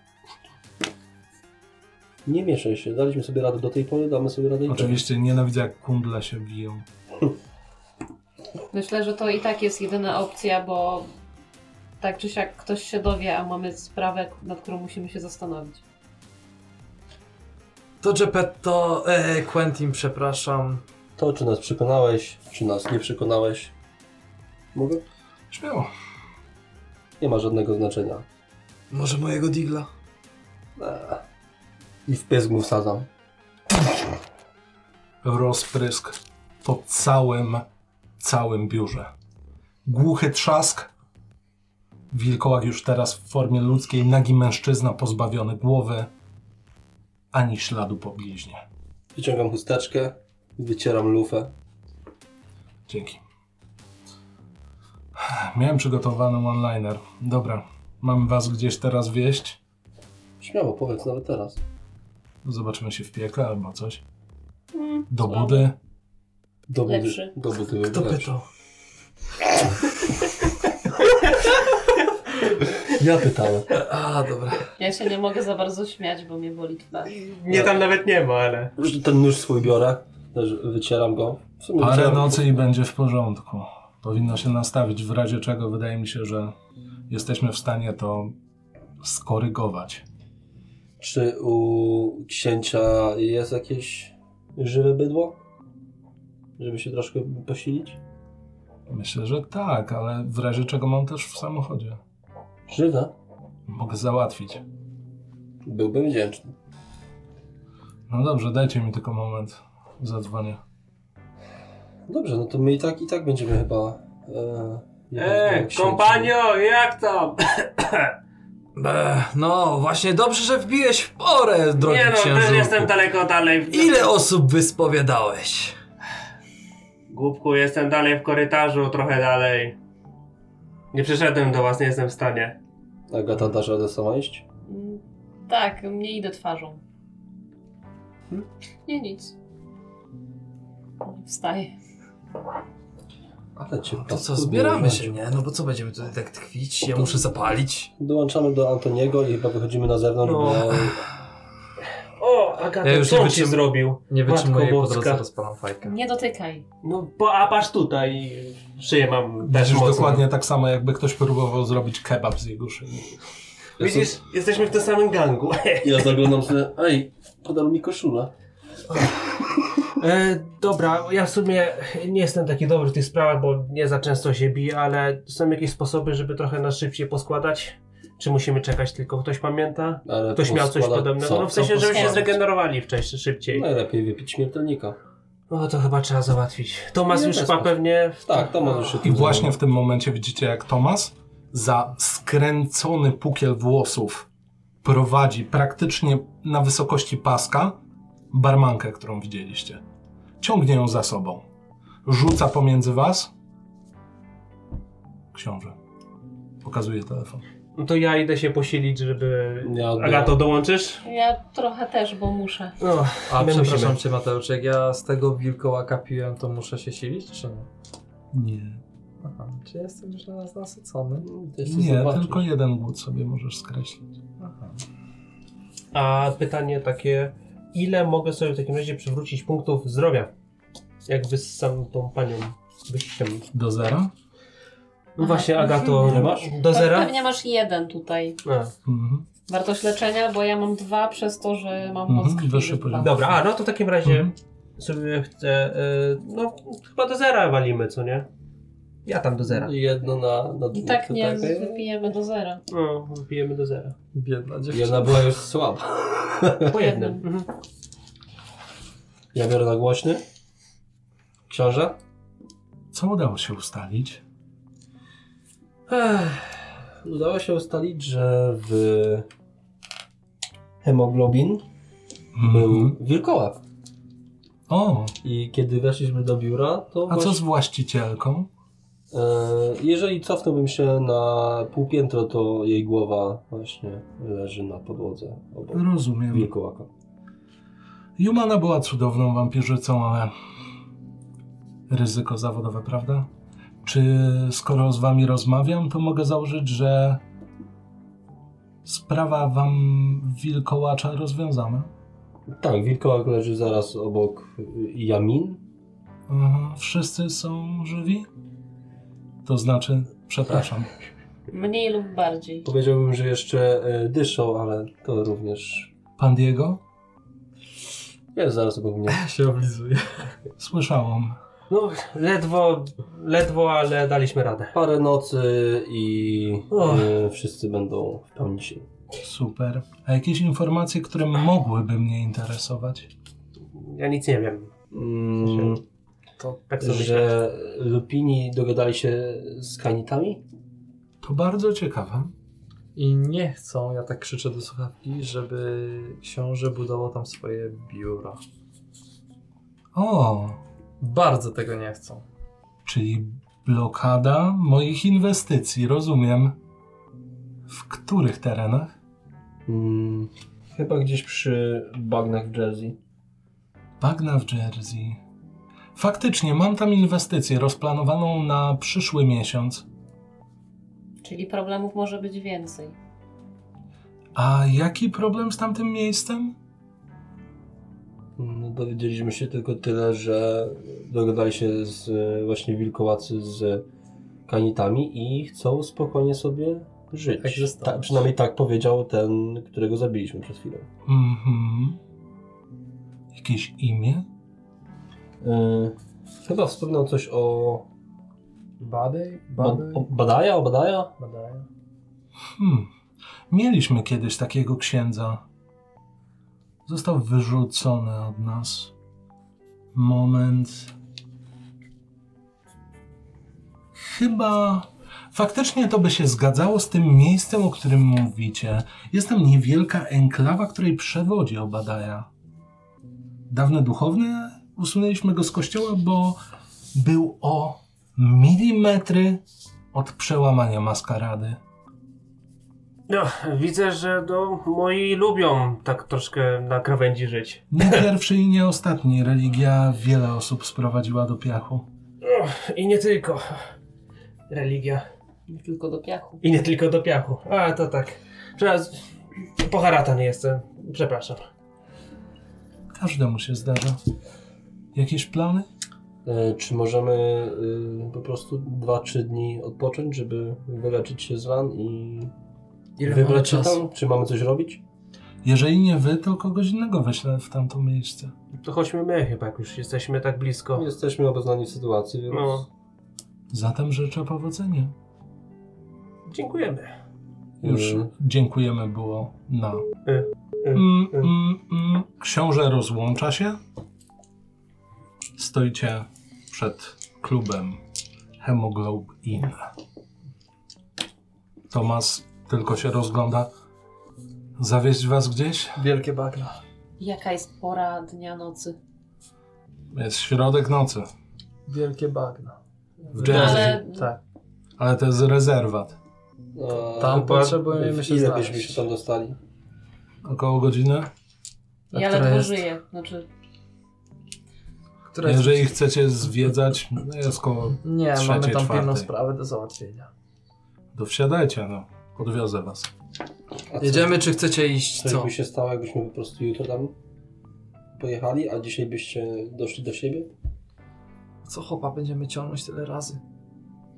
Speaker 2: Nie mieszaj się, daliśmy sobie radę do tej pory, damy sobie radę i
Speaker 1: Oczywiście nienawidzę jak kundle się biją.
Speaker 4: Myślę, że to i tak jest jedyna opcja, bo tak czy siak ktoś się dowie, a mamy sprawę, nad którą musimy się zastanowić.
Speaker 5: To Geppetto, e, Quentin, przepraszam.
Speaker 2: To, czy nas przekonałeś, czy nas nie przekonałeś, mogę?
Speaker 1: Śmiało.
Speaker 2: Nie ma żadnego znaczenia. Eee.
Speaker 5: Może mojego digla?
Speaker 2: I w pysk mu wsadzam.
Speaker 1: Rozprysk po całym, całym biurze. Głuchy trzask. Wilkołak już teraz w formie ludzkiej, nagi mężczyzna pozbawiony głowy, ani śladu po bliźnie.
Speaker 2: Wyciągam chusteczkę, wycieram lufę.
Speaker 1: Dzięki. Miałem przygotowany one-liner. Dobra, mam was gdzieś teraz wieść.
Speaker 2: Śmiało, powiedz nawet teraz.
Speaker 1: Zobaczymy się w piekle albo coś.
Speaker 4: Mm,
Speaker 1: Do
Speaker 4: słabo.
Speaker 1: budy.
Speaker 2: Do budy,
Speaker 4: Lepszy.
Speaker 2: Do budy
Speaker 5: Kto
Speaker 2: lepszy.
Speaker 5: pytał?
Speaker 2: Ja pytałem.
Speaker 5: A, dobra.
Speaker 4: Ja się nie mogę za bardzo śmiać, bo mnie boli twarz.
Speaker 3: Mnie tam nawet nie ma, ale...
Speaker 2: Już Ten nóż swój biorę, też wycieram go. W sumie
Speaker 1: Parę
Speaker 2: wycieram-
Speaker 1: nocy i będzie w porządku. Powinno się nastawić, w razie czego wydaje mi się, że jesteśmy w stanie to skorygować.
Speaker 2: Czy u księcia jest jakieś żywe bydło? Żeby się troszkę posilić?
Speaker 1: Myślę, że tak, ale w razie czego mam też w samochodzie.
Speaker 2: Żywe?
Speaker 1: Mogę załatwić.
Speaker 2: Byłbym wdzięczny.
Speaker 1: No dobrze, dajcie mi tylko moment. Zadzwonię.
Speaker 2: Dobrze, no to my i tak, i tak będziemy chyba... E,
Speaker 3: Eee, kompanio, jak tam?
Speaker 5: Be, no, właśnie dobrze, że wbiłeś w porę, drogi
Speaker 3: nie no,
Speaker 5: księżniku.
Speaker 3: też jestem daleko dalej. W...
Speaker 5: Ile osób wyspowiadałeś?
Speaker 3: Głupku, jestem dalej w korytarzu, trochę dalej. Nie przyszedłem do was, nie jestem w stanie.
Speaker 2: Agata, dasz radę sama iść?
Speaker 4: Mm, Tak, nie idę twarzą. Nie, nic. Wstaję.
Speaker 2: Ale cię
Speaker 5: To co,
Speaker 2: paskudnie
Speaker 5: zbieramy się,
Speaker 2: uwalił.
Speaker 5: nie? No bo co będziemy tutaj tak tkwić? Ja muszę zapalić.
Speaker 2: Dołączamy do Antoniego i chyba wychodzimy na zewnątrz,
Speaker 3: No.
Speaker 2: bo...
Speaker 3: O, Agata,
Speaker 6: Ja już
Speaker 3: co
Speaker 6: nie
Speaker 3: on ci
Speaker 6: wytrzym-
Speaker 3: zrobił?
Speaker 6: Nie wytrzymuję i
Speaker 3: Matko
Speaker 6: po drodze
Speaker 3: boska.
Speaker 6: rozpalam
Speaker 5: Tak.
Speaker 6: fajkę.
Speaker 4: Nie dotykaj.
Speaker 3: No, bo, a patrz tutaj, szyję mam też
Speaker 1: Widzisz
Speaker 3: mocno.
Speaker 1: dokładnie tak samo, jakby ktoś próbował zrobić kebab z jego szyi.
Speaker 3: Widzisz, jesteśmy w tym samym gangu.
Speaker 2: Ja zaglądam sobie, ej, podał mi koszulę.
Speaker 3: E, dobra, ja w sumie nie jestem taki dobry w tych sprawach, bo nie za często się biję, ale są jakieś sposoby, żeby trochę nas szybciej poskładać? Czy musimy czekać tylko? Ktoś pamięta?
Speaker 2: Ale
Speaker 3: Ktoś miał coś
Speaker 2: poskłada- No.
Speaker 3: podobnego?
Speaker 2: co?
Speaker 3: no w
Speaker 2: Co
Speaker 3: sensie, żeby się
Speaker 2: poskładać?
Speaker 3: zregenerowali wcześniej, szybciej.
Speaker 2: Najlepiej wypić śmiertelnika.
Speaker 3: No to chyba trzeba załatwić. Tomasz
Speaker 2: Nie,
Speaker 3: już
Speaker 2: bez
Speaker 3: chyba
Speaker 2: sprawy.
Speaker 3: pewnie...
Speaker 2: Tak, to może się
Speaker 1: I właśnie w tym momencie widzicie, jak Tomas za skręcony pukiel włosów prowadzi praktycznie na wysokości paska barmankę, którą widzieliście. Ciągnie ją za sobą. Rzuca pomiędzy was. Książę. Pokazuje telefon.
Speaker 3: No to ja idę się posilić, żeby...
Speaker 2: Ja odbieram.
Speaker 3: Agato, dołączysz?
Speaker 4: Ja trochę też, bo muszę.
Speaker 3: No,
Speaker 6: A
Speaker 3: my
Speaker 6: przepraszam
Speaker 3: musimy.
Speaker 6: cię Mateusz, jak ja z tego wilkołaka piłem, to muszę się silić, czy nie?
Speaker 1: Nie.
Speaker 6: Aha, czy jestem już na nas nasycony?
Speaker 2: To jeszcze
Speaker 1: Nie,
Speaker 2: zobaczysz.
Speaker 1: tylko jeden głód sobie możesz skreślić.
Speaker 6: Aha.
Speaker 3: A pytanie takie, ile mogę sobie w takim razie przywrócić punktów zdrowia? Jak wyssam tą panią wyjściem.
Speaker 1: Do zera?
Speaker 3: No właśnie,
Speaker 4: Aha.
Speaker 3: Agato,
Speaker 2: Ile masz?
Speaker 3: do zera?
Speaker 4: Pewnie masz jeden tutaj.
Speaker 3: A,
Speaker 1: Mhm.
Speaker 4: Wartość leczenia, bo ja mam dwa przez to, że mam
Speaker 1: Mhm,
Speaker 4: moc krwi.
Speaker 1: wyższy
Speaker 4: wypalony.
Speaker 1: poziom.
Speaker 3: dobra, a no to w takim razie
Speaker 1: Mhm.
Speaker 3: sobie chcę, y, no chyba do zera walimy, co nie? Ja tam do zera.
Speaker 2: Jedno na, na
Speaker 4: I tak nie
Speaker 2: tak, e,
Speaker 4: wypijemy do zera.
Speaker 3: No, wbijemy do zera.
Speaker 6: Biedna dziewczyna.
Speaker 2: Jedna była już słaba.
Speaker 3: Po jednym. Mhm.
Speaker 2: Ja biorę na głośny. Książę?
Speaker 1: Co udało się ustalić?
Speaker 2: Ech, udało się ustalić, że w hemoglobin był
Speaker 1: Mhm.
Speaker 2: wilkołak.
Speaker 1: O,
Speaker 2: I kiedy weszliśmy do biura, to
Speaker 1: a co z
Speaker 2: właśnie-
Speaker 1: właścicielką?
Speaker 2: E, Jeżeli cofnąłbym się na pół piętro, to jej głowa właśnie leży na podłodze obok
Speaker 1: Rozumiem.
Speaker 2: wilkołaka.
Speaker 1: Jumana była cudowną wampirzycą, ale ryzyko zawodowe, prawda? Czy skoro z wami rozmawiam, to mogę założyć, że sprawa wam wilkołacza rozwiązana?
Speaker 2: Tak, wilkołak leży zaraz obok y, Jamin.
Speaker 1: Aha, wszyscy są żywi? To znaczy, przepraszam.
Speaker 4: Mniej lub bardziej.
Speaker 2: Powiedziałbym, że jeszcze y, dyszą, ale to również
Speaker 1: Pan Diego?
Speaker 2: jest zaraz obok mnie.
Speaker 6: się oblizuje.
Speaker 1: Słyszałam.
Speaker 3: No, ledwo, ledwo, ale daliśmy radę.
Speaker 2: Parę nocy i
Speaker 3: Och.
Speaker 2: y, wszyscy będą w pełni sił.
Speaker 1: Super. A jakieś informacje, które mogłyby mnie interesować?
Speaker 3: Ja nic nie wiem.
Speaker 2: Mm,
Speaker 3: Tak sobie myślę.
Speaker 2: że Lupini dogadali się z kanitami?
Speaker 1: To bardzo ciekawe.
Speaker 6: I nie chcą, ja tak krzyczę do słuchawki, żeby książę budował tam swoje biura.
Speaker 1: O,
Speaker 6: Bardzo tego nie chcą.
Speaker 1: Czyli blokada moich inwestycji, rozumiem. W których terenach?
Speaker 2: Mm, chyba gdzieś przy bagnach w Jersey.
Speaker 1: Bagna w Jersey. Faktycznie, mam tam inwestycję rozplanowaną na przyszły miesiąc.
Speaker 4: Czyli problemów może być więcej.
Speaker 1: A jaki problem z tamtym miejscem?
Speaker 2: No, dowiedzieliśmy się tylko tyle, że dogadali się z e, właśnie wilkołacy z kanitami i chcą spokojnie sobie żyć.
Speaker 6: Egzystować.
Speaker 2: Tak, przynajmniej tak powiedział ten, którego zabiliśmy przed chwilą.
Speaker 1: Mhm. Jakieś imię?
Speaker 2: E, chyba wspomniał coś o
Speaker 6: Badej?
Speaker 2: Bo,
Speaker 6: Badej?
Speaker 2: o- badaja, obadaja?
Speaker 6: Badaj.
Speaker 1: Hmm. Mieliśmy kiedyś takiego księdza. Został wyrzucony od nas. Moment. Chyba. Faktycznie to by się zgadzało z tym miejscem, o którym mówicie. Jest tam niewielka enklawa, której przewodzi Obadaja. Dawne duchowne usunęliśmy go z kościoła, bo był o milimetry od przełamania maskarady.
Speaker 3: No, widzę, że no, moi lubią tak troszkę na krawędzi żyć.
Speaker 1: Nie pierwszy i nie ostatni. Religia wiele osób sprowadziła do piachu.
Speaker 3: I nie tylko. Religia.
Speaker 4: Nie tylko do piachu.
Speaker 3: I nie tylko do piachu. A, to tak. Przepraszam, pocharatan jestem. Przepraszam.
Speaker 1: Każdemu się zdarza. Jakieś plany?
Speaker 2: E, Czy możemy y, po prostu 2-3 dni odpocząć, żeby wyleczyć się z ran i
Speaker 5: Ile mamy
Speaker 2: wybrać się
Speaker 5: czasu?
Speaker 2: tam? Czy mamy coś robić?
Speaker 1: Jeżeli nie wy, to kogoś innego wyślę w tamto miejsce.
Speaker 3: To chodźmy my chyba, jak już jesteśmy tak blisko.
Speaker 2: No, Jesteśmy obeznani w sytuacji, więc
Speaker 3: No.
Speaker 1: Zatem życzę powodzenia.
Speaker 3: Dziękujemy.
Speaker 1: Już
Speaker 2: Mm.
Speaker 1: dziękujemy było na.
Speaker 3: Mhm. Y, y,
Speaker 1: Mm, mm, mm. Książę rozłącza się. Stoicie przed klubem Hemoglobe Inn. Tomas tylko się rozgląda. Zawieźć was gdzieś?
Speaker 5: Wielkie bagna.
Speaker 4: Jaka jest pora dnia, nocy?
Speaker 1: Jest środek nocy.
Speaker 5: Wielkie bagna.
Speaker 1: W jazzy.
Speaker 4: Ale-
Speaker 5: Tak.
Speaker 1: Ale to jest rezerwat.
Speaker 2: E,
Speaker 5: Tam
Speaker 2: chyba
Speaker 5: potrzebujemy
Speaker 2: w
Speaker 5: się
Speaker 2: Ile
Speaker 5: znaleźć.
Speaker 2: byśmy się tam dostali?
Speaker 1: Około godziny.
Speaker 5: A
Speaker 4: Ja
Speaker 5: która
Speaker 4: ledwo
Speaker 5: jest?
Speaker 4: żyję. Znaczy,
Speaker 5: Która jest-
Speaker 1: Jeżeli chcecie zwiedzać, no jest koło,
Speaker 5: Nie,
Speaker 1: trzeciej,
Speaker 5: mamy tam pilną
Speaker 1: czwartej.
Speaker 5: sprawę do załatwienia.
Speaker 1: to wsiadajcie, no. Podwiozę was.
Speaker 2: A co-
Speaker 5: Jedziemy, czy chcecie iść?
Speaker 2: Coś
Speaker 5: Co?
Speaker 2: by się stało, jakbyśmy po prostu jutro tam pojechali, a dzisiaj byście doszli do siebie?
Speaker 5: Co chopa będziemy ciągnąć tyle razy?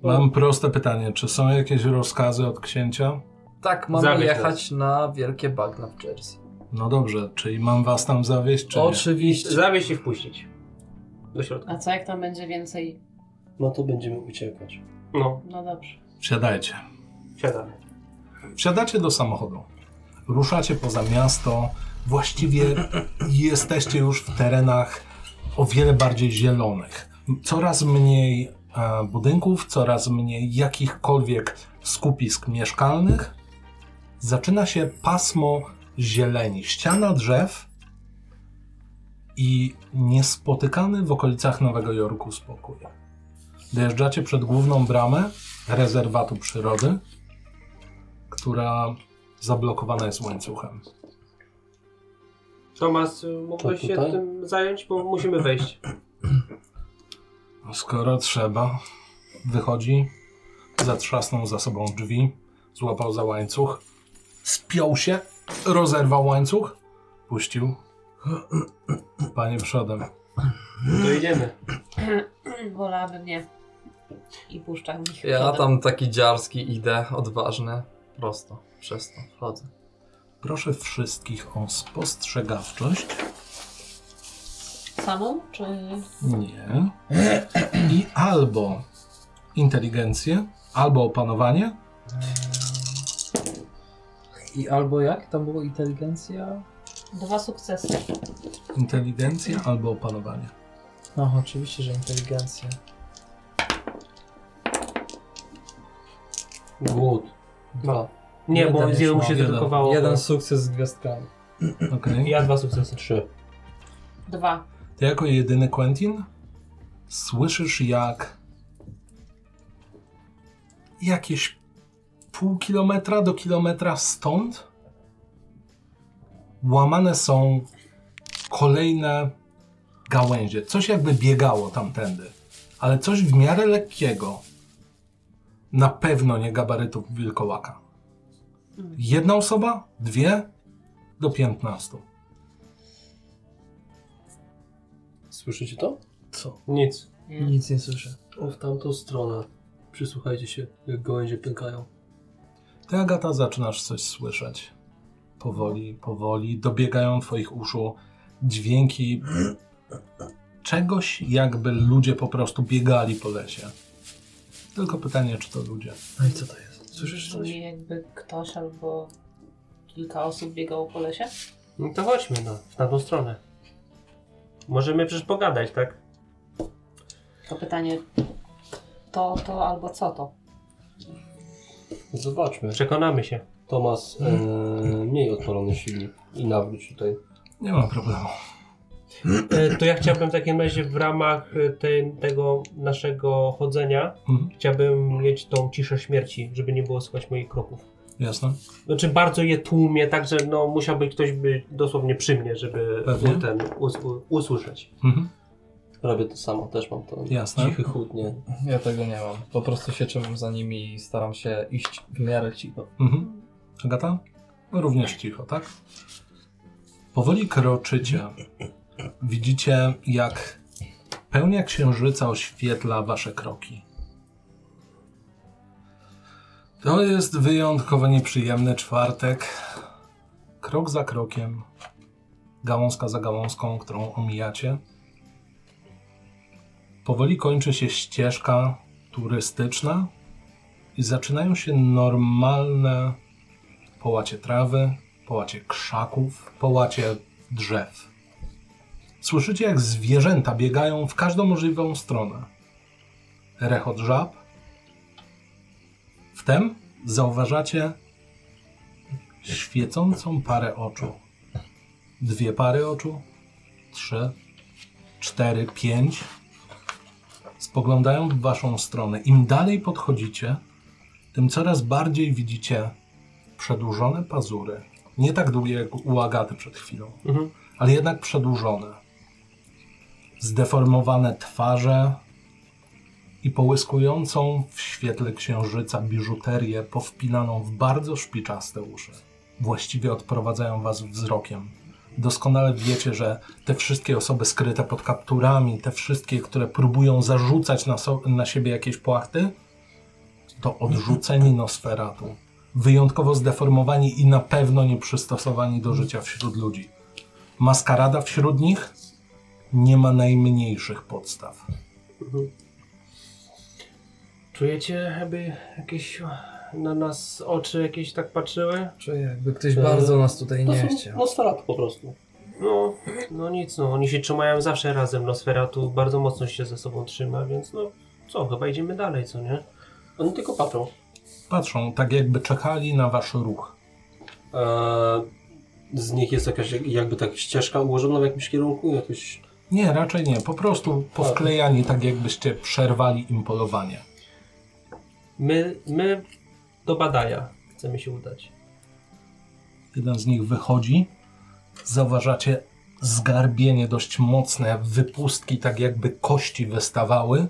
Speaker 1: Mam proste pytanie. Czy są jakieś rozkazy od księcia?
Speaker 5: Tak, mamy
Speaker 3: Zamyśl
Speaker 5: jechać na wielkie bagna w Jersey.
Speaker 1: No dobrze, czyli mam was tam zawieźć, czy nie?
Speaker 5: Oczywiście.
Speaker 3: Zawieźć i wpuścić. Do środka.
Speaker 4: a co jak tam będzie więcej?
Speaker 2: No to będziemy uciekać.
Speaker 3: No,
Speaker 4: No dobrze.
Speaker 1: Wsiadajcie.
Speaker 3: siadamy.
Speaker 1: Wsiadacie do samochodu. Ruszacie poza miasto. Właściwie jesteście już w terenach o wiele bardziej zielonych. Coraz mniej e, budynków, coraz mniej jakichkolwiek skupisk mieszkalnych. Zaczyna się pasmo zieleni, ściana drzew i niespotykany w okolicach Nowego Jorku spokój. Dojeżdżacie przed główną bramę rezerwatu przyrody która zablokowana jest łańcuchem.
Speaker 3: Tomas, y, mógłbyś
Speaker 2: To
Speaker 3: się
Speaker 2: tutaj?
Speaker 3: tym zająć, bo musimy wejść.
Speaker 1: Skoro trzeba, wychodzi, zatrzasnął za sobą drzwi, złapał za łańcuch, spiął się, rozerwał łańcuch, puścił. Panie przodem.
Speaker 3: To idziemy.
Speaker 4: Wolałabym nie. I puszczam ich.
Speaker 5: Ja
Speaker 4: przodem.
Speaker 5: tam taki dziarski idę, odważny. Prosto, przez to wchodzę.
Speaker 1: Proszę wszystkich o spostrzegawczość.
Speaker 4: Samą? Czy...
Speaker 1: Nie. I albo inteligencję, albo opanowanie,
Speaker 6: I albo jak? Tam było inteligencja?
Speaker 4: Dwa sukcesy.
Speaker 1: inteligencja, albo opanowanie.
Speaker 5: No, oczywiście, że inteligencja.
Speaker 2: Głód.
Speaker 6: Dwa.
Speaker 3: Nie,
Speaker 6: Jeden
Speaker 3: bo
Speaker 6: już
Speaker 3: z jednym mu się
Speaker 1: mam, jeden.
Speaker 3: dedykowało.
Speaker 6: Jeden sukces z gwiazdkami.
Speaker 1: Okej.
Speaker 3: Ja dwa sukcesy.
Speaker 2: Trzy.
Speaker 4: Dwa.
Speaker 1: Ty jako jedyny Quentin słyszysz jak jakieś pół kilometra do kilometra stąd łamane są kolejne gałęzie. Coś jakby biegało tamtędy, ale coś w miarę lekkiego. Na pewno nie gabarytów wilkołaka. Jedna osoba, dwie do piętnastu.
Speaker 2: Słyszycie to?
Speaker 5: Co?
Speaker 3: Nic.
Speaker 4: Nie.
Speaker 5: Nic nie słyszę.
Speaker 2: O, w tamtą stronę. Przysłuchajcie się, jak gołędzie pękają.
Speaker 1: Ty, Agata, zaczynasz coś słyszeć. Powoli, powoli dobiegają twoich uszu dźwięki czegoś, jakby ludzie po prostu biegali po lesie. Tylko pytanie, czy to ludzie.
Speaker 5: No i co to jest? Słyszysz
Speaker 4: Czyli
Speaker 5: coś?
Speaker 4: jakby ktoś albo kilka osób biegało po lesie?
Speaker 3: No to chodźmy, no, na tą stronę. Możemy przecież pogadać, tak?
Speaker 4: To pytanie to, to albo co to?
Speaker 2: Zobaczmy.
Speaker 3: Przekonamy się.
Speaker 2: Tomas, e, miej odpalony silnik i nawróć tutaj.
Speaker 1: Nie ma problemu.
Speaker 3: E, To ja chciałbym w takim razie w ramach e, tej- tego naszego chodzenia,
Speaker 1: Mhm.
Speaker 3: chciałbym mieć tą ciszę śmierci, żeby nie było słychać moich kroków.
Speaker 1: Jasne?
Speaker 3: Znaczy bardzo je tłumię, także no musiałby ktoś być dosłownie przy mnie, żeby
Speaker 1: Pewnie.
Speaker 3: ten us, u, usłyszeć.
Speaker 1: Mhm.
Speaker 2: Robię to samo, też mam to.
Speaker 1: Jasne.
Speaker 2: Cichy chód, nie?
Speaker 6: Ja tego nie mam. Po prostu się trzymam za nimi i staram się iść w miarę cicho.
Speaker 1: Mhm. Agata? No również cicho, tak? Powoli kroczycie. Widzicie, jak pełnia księżyca oświetla wasze kroki. To jest wyjątkowo nieprzyjemny czwartek. Krok za krokiem, gałązka za gałązką, którą omijacie. Powoli kończy się ścieżka turystyczna, i zaczynają się normalne połacie trawy, połacie krzaków, połacie drzew. Słyszycie, jak zwierzęta biegają w każdą możliwą stronę. Rechot żab. Wtem zauważacie świecącą parę oczu. Dwie pary oczu, trzy, cztery, pięć. Spoglądają w waszą stronę. Im dalej podchodzicie, tym coraz bardziej widzicie przedłużone pazury. Nie tak długie jak u Agaty przed chwilą,
Speaker 3: Mhm.
Speaker 1: ale jednak przedłużone. Zdeformowane twarze i połyskującą w świetle księżyca biżuterię powpinaną w bardzo szpiczaste uszy. Właściwie odprowadzają was wzrokiem. Doskonale wiecie, że te wszystkie osoby skryte pod kapturami, te wszystkie, które próbują zarzucać na, so- na siebie jakieś płachty, to odrzuceni Nosferatu. Wyjątkowo zdeformowani i na pewno nieprzystosowani do życia wśród ludzi. Maskarada wśród nich nie ma najmniejszych podstaw.
Speaker 3: Czujecie, jakby jakieś na nas oczy jakieś tak patrzyły?
Speaker 5: Czuję, jakby ktoś
Speaker 2: To-
Speaker 5: bardzo nas tutaj
Speaker 2: To
Speaker 5: nie
Speaker 2: są
Speaker 5: chciał.
Speaker 2: Nosferatu po prostu.
Speaker 3: No, no nic, no oni się trzymają zawsze razem, Nosferatu bardzo mocno się ze sobą trzyma, więc no co, chyba idziemy dalej, co nie?
Speaker 2: Oni tylko patrzą.
Speaker 1: Patrzą tak, jakby czekali na wasz ruch.
Speaker 2: E, z nich jest jakaś jak- jakby tak ścieżka ułożona w jakimś kierunku, jakoś...
Speaker 1: Nie, raczej nie. Po prostu powklejani, tak jakbyście przerwali im polowanie.
Speaker 3: My, my do Badaja chcemy się udać.
Speaker 1: Jeden z nich wychodzi. Zauważacie zgarbienie dość mocne, wypustki, tak jakby kości wystawały.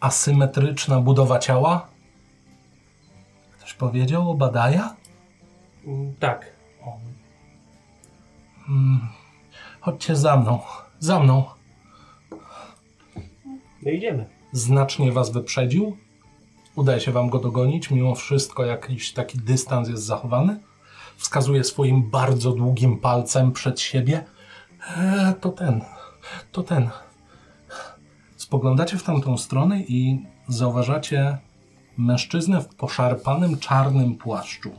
Speaker 1: Asymetryczna budowa ciała. Ktoś powiedział o Badaja?
Speaker 3: Mm, Tak,
Speaker 1: Hmm. Chodźcie za mną, za mną.
Speaker 3: no idziemy.
Speaker 1: Znacznie was wyprzedził. Udaje się wam go dogonić. Mimo wszystko jakiś taki dystans jest zachowany. Wskazuje swoim bardzo długim palcem przed siebie. E, to ten, to ten. Spoglądacie w tamtą stronę i zauważacie mężczyznę w poszarpanym czarnym płaszczu.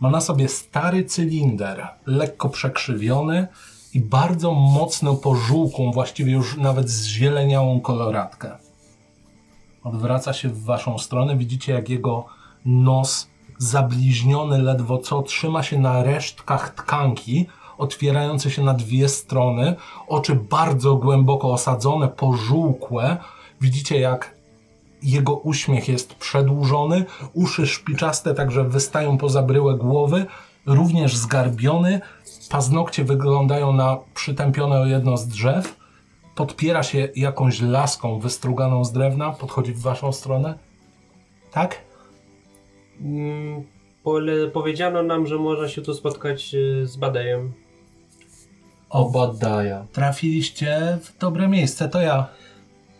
Speaker 1: Ma na sobie stary cylinder, lekko przekrzywiony i bardzo mocno pożółkłą, właściwie już nawet zzieleniałą koloratkę. Odwraca się w waszą stronę. Widzicie, jak jego nos, zabliźniony ledwo co, trzyma się na resztkach tkanki, otwierające się na dwie strony. Oczy bardzo głęboko osadzone, pożółkłe. Widzicie, jak jego uśmiech jest przedłużony, uszy szpiczaste także wystają poza bryłę głowy, również zgarbiony, paznokcie wyglądają na przytępione o jedno z drzew, podpiera się jakąś laską wystruganą z drewna, podchodzi w waszą stronę. Tak?
Speaker 3: Mm, Pole, powiedziano nam, że można się tu spotkać e, z Badajem.
Speaker 2: Obadaja.
Speaker 1: Trafiliście w dobre miejsce, to ja.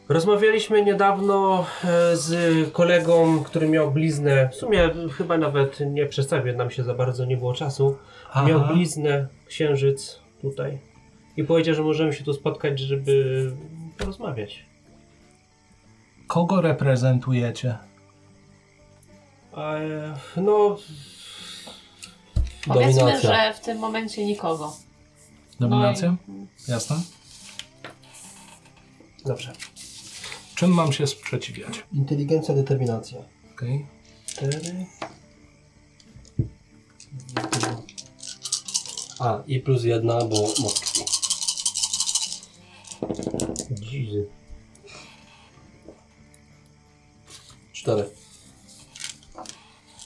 Speaker 3: Rozmawialiśmy niedawno e, z kolegą, który miał bliznę. W sumie chyba nawet nie przedstawię nam się za bardzo, nie było czasu.
Speaker 1: Aha.
Speaker 3: Miał bliznę księżyc tutaj. I powiedział, że możemy się tu spotkać, żeby porozmawiać.
Speaker 1: Kogo reprezentujecie?
Speaker 3: E, no,
Speaker 4: Powiedzmy,
Speaker 2: Dominacja.
Speaker 4: że w tym momencie nikogo.
Speaker 1: Dominację?
Speaker 4: No i...
Speaker 1: Jasne.
Speaker 2: Dobrze.
Speaker 1: Czym mam się sprzeciwiać?
Speaker 2: Inteligencja, determinacja.
Speaker 1: Okej.
Speaker 2: Cztery. A, i plus jedna, bo mocki. Dzizy. Cztery.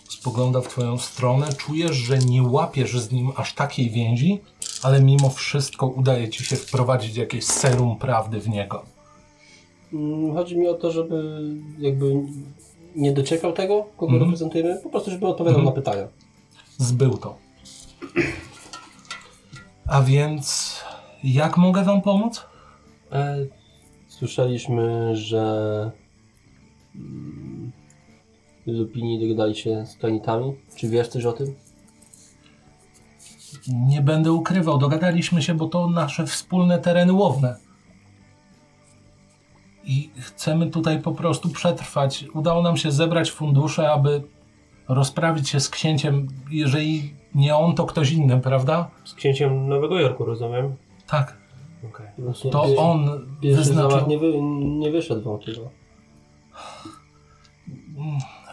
Speaker 1: Spogląda w twoją stronę, czujesz, że nie łapiesz z nim aż takiej więzi, ale mimo wszystko udaje ci się wprowadzić jakieś serum prawdy w niego.
Speaker 2: Mm, Chodzi mi o to, żeby jakby nie dociekał tego, kogo
Speaker 1: Mhm.
Speaker 2: reprezentujemy, po prostu żeby odpowiadał
Speaker 1: Mhm.
Speaker 2: na pytania.
Speaker 1: Zbył to. A więc, jak mogę wam pomóc?
Speaker 2: E, Słyszeliśmy, że mm, Lupini dogadali się z planitami. Czy wiesz coś o tym?
Speaker 1: Nie będę ukrywał, dogadaliśmy się, bo to nasze wspólne tereny łowne. I chcemy tutaj po prostu przetrwać. Udało nam się zebrać fundusze, aby rozprawić się z księciem. Jeżeli nie on, to ktoś inny, prawda?
Speaker 3: z księciem Nowego Jorku, rozumiem.
Speaker 1: Tak,
Speaker 3: Okej.
Speaker 2: Właśnie
Speaker 1: to
Speaker 2: pierwszy-
Speaker 1: on
Speaker 2: Pierwszy zamach
Speaker 1: wyznaczył.
Speaker 2: nie, wy, nie wyszedł wam chyba.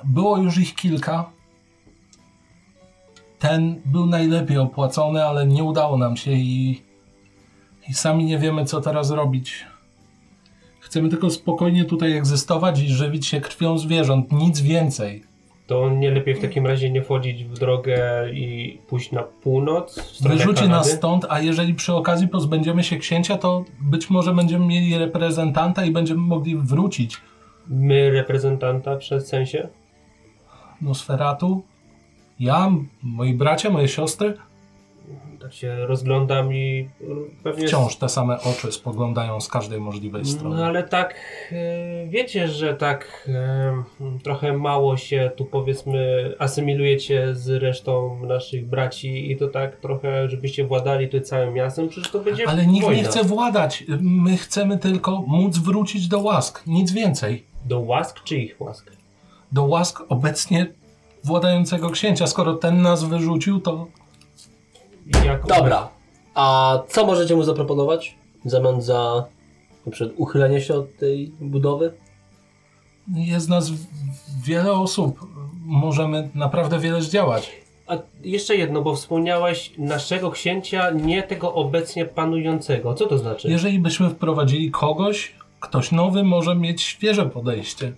Speaker 1: Było już ich kilka. Ten był najlepiej opłacony, ale nie udało nam się i, i sami nie wiemy, co teraz robić. Chcemy tylko spokojnie tutaj egzystować i żywić się krwią zwierząt, nic więcej.
Speaker 3: To nie lepiej w takim razie nie wchodzić w drogę i pójść na północ? W stronę
Speaker 1: Wyrzuci
Speaker 3: Kanady?
Speaker 1: nas stąd, a jeżeli przy okazji pozbędziemy się księcia, to być może będziemy mieli reprezentanta i będziemy mogli wrócić
Speaker 3: My reprezentanta przez sensie?
Speaker 1: Nosferatu. Ja, moi bracia, moje siostry,
Speaker 3: Tak się rozglądam i mm, pewnie...
Speaker 1: wciąż te same oczy spoglądają z każdej możliwej strony.
Speaker 3: No ale tak, e, wiecie, że tak e, trochę mało się tu powiedzmy asymilujecie z resztą naszych braci i to tak trochę, żebyście władali tu całym miastem, przecież to będzie
Speaker 1: Ale nikt
Speaker 3: wojna.
Speaker 1: nie chce władać. My chcemy tylko móc wrócić do łask. Nic więcej.
Speaker 3: Do łask czy ich łask?
Speaker 1: Do łask obecnie władającego księcia. Skoro ten nas wyrzucił, to
Speaker 3: Jak
Speaker 2: Dobra, a co możecie mu zaproponować w zamian za na przykład uchylenie się od tej budowy?
Speaker 1: jest nas w- wiele osób. Możemy naprawdę wiele zdziałać.
Speaker 3: A jeszcze jedno, bo wspomniałeś naszego księcia, nie tego obecnie panującego. Co to znaczy?
Speaker 1: Jeżeli byśmy wprowadzili kogoś, ktoś nowy może mieć świeże podejście.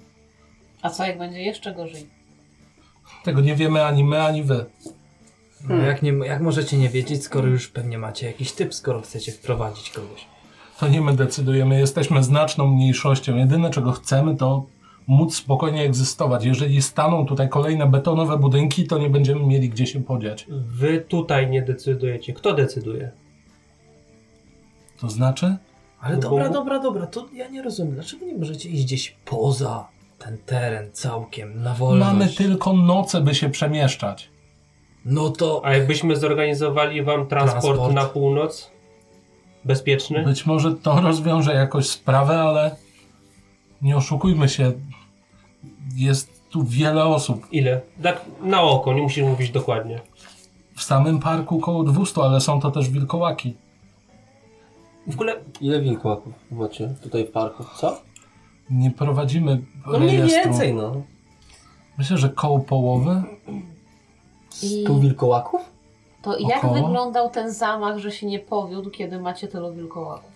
Speaker 4: A co jak będzie jeszcze gorzej?
Speaker 1: Tego nie wiemy ani my, ani wy.
Speaker 6: No, jak, nie, jak możecie nie wiedzieć, skoro już pewnie macie jakiś typ, skoro chcecie wprowadzić kogoś.
Speaker 1: To nie my decydujemy, jesteśmy znaczną mniejszością. Jedyne czego chcemy to móc spokojnie egzystować. Jeżeli staną tutaj kolejne betonowe budynki, to nie będziemy mieli gdzie się podziać.
Speaker 3: Wy tutaj nie decydujecie. Kto decyduje?
Speaker 1: To znaczy?
Speaker 6: Ale
Speaker 3: No bo-
Speaker 6: dobra, dobra, dobra, to ja nie rozumiem. Dlaczego nie możecie iść gdzieś poza ten teren całkiem, na wolność?
Speaker 1: Mamy tylko noce, by się przemieszczać.
Speaker 6: No to...
Speaker 3: A jakbyśmy zorganizowali wam transport,
Speaker 6: Transport. Mhm.
Speaker 3: na północ? Bezpieczny?
Speaker 1: Być może to rozwiąże jakoś sprawę, ale nie oszukujmy się. Jest tu wiele osób.
Speaker 3: Ile? Tak na oko, nie musisz mówić dokładnie.
Speaker 1: W samym parku około 200, ale są to też wilkołaki.
Speaker 3: W ogóle
Speaker 2: Ile wilkołaków macie tutaj w parku? Co?
Speaker 1: Nie prowadzimy
Speaker 2: No mniej
Speaker 1: rejestru.
Speaker 2: więcej no.
Speaker 1: Myślę, że koło połowy.
Speaker 2: Stu wilkołaków?
Speaker 4: To jak
Speaker 1: Około?
Speaker 4: wyglądał ten zamach, że się nie powiódł, kiedy macie tylu wilkołaków?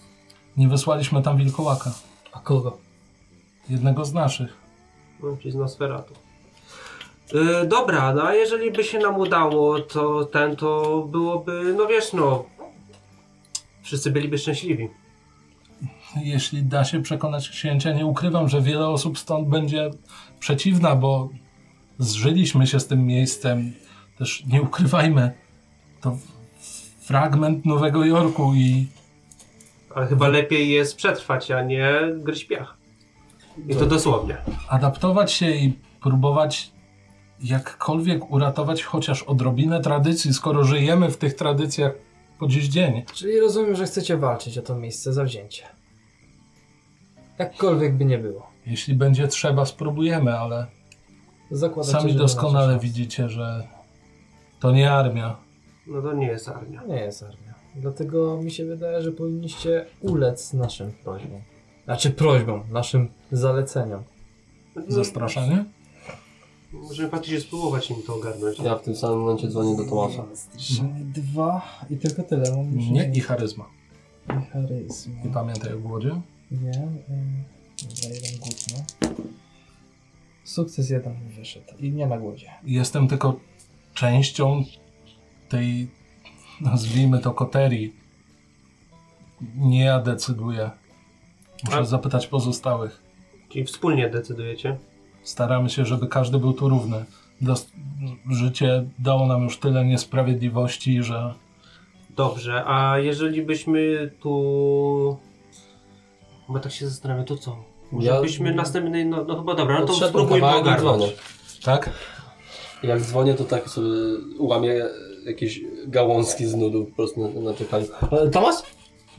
Speaker 1: Nie wysłaliśmy tam wilkołaka.
Speaker 6: A kogo?
Speaker 1: Jednego z naszych.
Speaker 3: No, czyli z Nosferatu. Yy, dobra, no a jeżeli by się nam udało, to ten to byłoby, no wiesz, no. Wszyscy byliby szczęśliwi.
Speaker 1: Jeśli da się przekonać księcia, nie ukrywam, że wiele osób stąd będzie przeciwna, bo zżyliśmy się z tym miejscem. Też nie ukrywajmy, to fragment Nowego Jorku i
Speaker 3: Ale chyba
Speaker 6: Mhm.
Speaker 3: lepiej jest przetrwać, a nie gryźć piach. I
Speaker 6: No.
Speaker 3: to dosłownie.
Speaker 1: adaptować się i próbować jakkolwiek uratować chociaż odrobinę tradycji, skoro żyjemy w tych tradycjach po dziś dzień.
Speaker 6: Czyli rozumiem, że chcecie walczyć o to miejsce zawzięcie. Jakkolwiek by nie było.
Speaker 1: Jeśli będzie trzeba, spróbujemy, ale
Speaker 6: Zakładam
Speaker 1: sami doskonale widzicie, że to nie armia.
Speaker 3: No to nie jest armia.
Speaker 6: Nie jest armia. Dlatego mi się wydaje, że powinniście ulec naszym prośbom. Znaczy prośbom, naszym zaleceniom.
Speaker 1: Zastraszanie?
Speaker 3: Możemy faktycznie spróbować im to ogarnąć.
Speaker 2: Ja w tym samym momencie dzwonię do Tomasza.
Speaker 7: Zastraszenie dwa i tylko tyle. Mam już
Speaker 1: Nie i charyzma.
Speaker 7: i charyzma.
Speaker 1: I pamiętaj o głodzie.
Speaker 7: Nie. ym, Dobra, jeden główny. Sukces jeden mi wyszedł i nie na głodzie.
Speaker 1: Jestem tylko częścią tej, nazwijmy to, koterii. Nie ja decyduję. Muszę
Speaker 3: A-
Speaker 1: zapytać pozostałych.
Speaker 3: Czyli wspólnie decydujecie.
Speaker 1: Staramy się, żeby każdy był tu równy. Dos- życie dało nam już tyle niesprawiedliwości, że
Speaker 3: Dobrze, a jeżeli byśmy tu... Bo tak się zastanawiam, to co? Może
Speaker 2: Ja-
Speaker 3: byśmy następnej... No, no chyba dobra, no to
Speaker 2: Odszedłem
Speaker 3: spróbujmy
Speaker 2: kawałek i
Speaker 3: ogarnąć.
Speaker 2: dzwonię.
Speaker 1: tak?
Speaker 2: Jak dzwonię, to tak sobie łamię jakieś gałązki z nudu po prostu na, na czekaniu. E, Tomasz?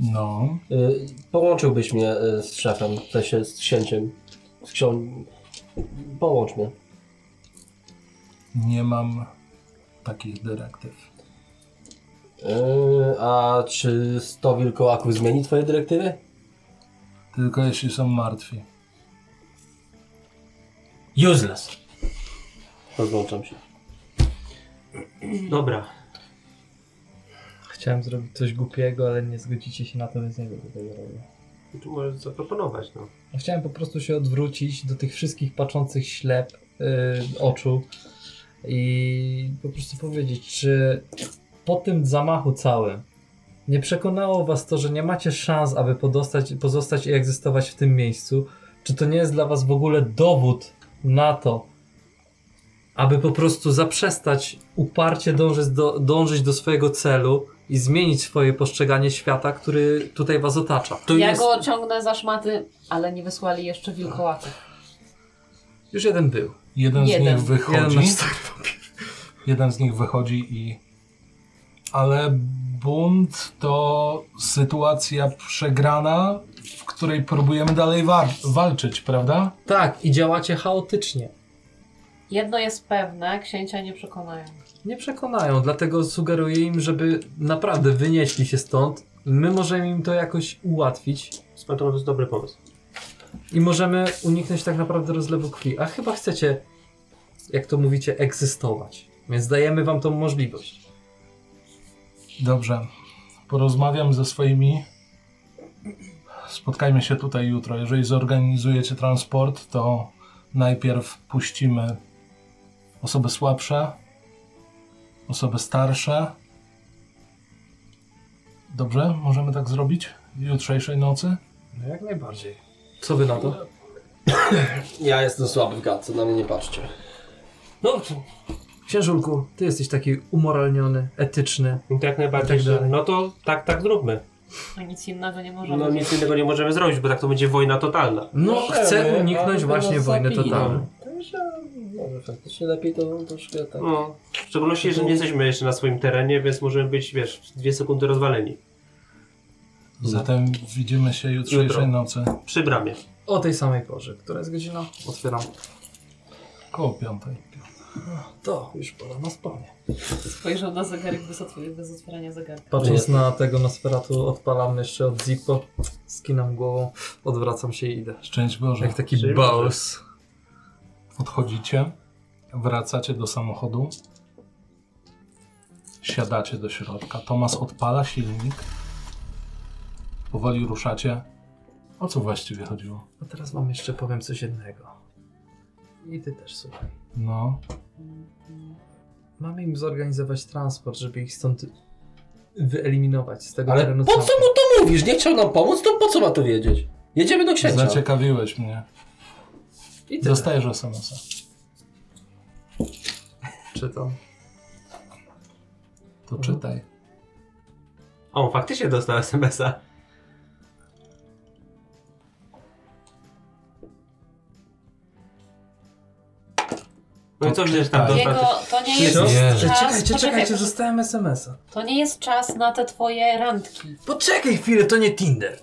Speaker 1: No.
Speaker 2: Y, połączyłbyś mnie y, z szefem, w sensie z księciem. Z ksią... Połącz mnie.
Speaker 1: Nie mam takich dyrektyw.
Speaker 2: Y, a czy 100 wilkołaków zmieni twoje dyrektywy?
Speaker 1: Tylko jeśli są martwi.
Speaker 2: Useless. Rozłączam się.
Speaker 3: Dobra.
Speaker 7: Chciałem zrobić coś głupiego, ale nie zgodzicie się na to, więc nie wiem, co tego robię.
Speaker 3: Tu możesz zaproponować, no.
Speaker 6: Ja chciałem po prostu się odwrócić do tych wszystkich patrzących ślep yy, oczu i po prostu powiedzieć, czy po tym zamachu całym nie przekonało was to, że nie macie szans, aby podostać, pozostać i egzystować w tym miejscu? Czy to nie jest dla was w ogóle dowód na to, aby po prostu zaprzestać uparcie dążyć do, dążyć do swojego celu i zmienić swoje postrzeganie świata, który tutaj was otacza?
Speaker 2: Tu
Speaker 4: ja
Speaker 2: jest...
Speaker 4: go ciągnę za szmaty, ale nie wysłali jeszcze wilkołaków.
Speaker 6: Już jeden był.
Speaker 1: Jeden, z
Speaker 4: Jeden.
Speaker 1: nich wychodzi.
Speaker 6: Jeden
Speaker 1: Jeden,
Speaker 6: na cztery
Speaker 1: z nich wychodzi i. Ale bunt to sytuacja przegrana, w której próbujemy dalej wa- walczyć, prawda?
Speaker 6: Tak, i działacie chaotycznie.
Speaker 4: Jedno jest pewne, księcia nie przekonają.
Speaker 6: Nie przekonają, dlatego sugeruję im, żeby naprawdę wynieśli się stąd. My możemy im to jakoś ułatwić
Speaker 3: Skąd to jest dobry pomysł.
Speaker 6: i możemy uniknąć tak naprawdę rozlewu krwi. A chyba chcecie, jak to mówicie, egzystować. Więc dajemy wam tą możliwość.
Speaker 1: Dobrze. Porozmawiam ze swoimi. Spotkajmy się tutaj jutro. Jeżeli zorganizujecie transport, to najpierw puścimy osoby słabsze, osoby starsze. Dobrze? Możemy tak zrobić? Jutrzejszej nocy?
Speaker 6: No jak najbardziej. Co wy na to?
Speaker 2: Ja jestem słaby w gadce, na mnie nie patrzcie.
Speaker 6: No, księżulku, ty jesteś taki umoralniony, etyczny.
Speaker 3: I tak najbardziej,
Speaker 6: Tak
Speaker 3: że
Speaker 6: dalej.
Speaker 3: no to tak, tak zróbmy.
Speaker 4: A nic innego nie możemy.
Speaker 3: No nic innego nie możemy zrobić, bo tak to będzie wojna totalna.
Speaker 6: No,
Speaker 2: Możemy,
Speaker 6: chcę
Speaker 2: ale
Speaker 6: uniknąć
Speaker 2: to
Speaker 6: właśnie
Speaker 2: nas
Speaker 6: wojny
Speaker 2: zabije.
Speaker 6: totalnej.
Speaker 2: Także może faktycznie lepiej to troszkę tak...
Speaker 3: No, w szczególności, że nie jesteśmy jeszcze na swoim terenie, więc możemy być, wiesz, w dwie sekundy rozwaleni.
Speaker 1: Zatem widzimy się jutrzejszej
Speaker 3: Jutro.
Speaker 1: nocy
Speaker 3: Przy bramie.
Speaker 6: O tej samej porze. Która jest godzina? Otwieram.
Speaker 1: koło piątej.
Speaker 6: To już pora na spanie.
Speaker 4: Spojrzał na zegarek bez, otw- bez otwierania zegarka.
Speaker 6: Patrząc na tego Nosferatu, odpalam jeszcze od Zippo, skinam głową, odwracam się i idę.
Speaker 1: Szczęść Boże.
Speaker 6: Jak taki
Speaker 3: Czyli
Speaker 6: baus.
Speaker 1: Odchodzicie, wracacie do samochodu, siadacie do środka. Tomas odpala silnik, powoli ruszacie. O co właściwie chodziło?
Speaker 6: A teraz wam jeszcze powiem coś jednego. I ty też słuchaj.
Speaker 1: No,
Speaker 6: Mamy im zorganizować transport, żeby ich stąd wyeliminować z tego
Speaker 2: Ale
Speaker 5: no
Speaker 6: terenu.
Speaker 2: po co
Speaker 6: całkiem.
Speaker 2: mu to mówisz? Nie chciał nam pomóc, to po co ma to wiedzieć? Jedziemy do księcia.
Speaker 1: Znaczy, zaciekawiłeś mnie.
Speaker 6: I tyle.
Speaker 1: Dostajesz SMS-a.
Speaker 6: Czytam.
Speaker 1: To
Speaker 6: Mhm.
Speaker 1: czytaj.
Speaker 3: O, faktycznie dostał SMS-a. No i co widzisz tam
Speaker 1: Jego-
Speaker 3: dostał?
Speaker 4: Diego, to nie jest
Speaker 1: Ślepy.
Speaker 4: czas.
Speaker 6: Czekajcie,
Speaker 4: poczekaj,
Speaker 6: czekajcie, dostałem SMS-a.
Speaker 4: To nie jest czas na te twoje randki.
Speaker 6: Poczekaj chwilę, to nie Tinder.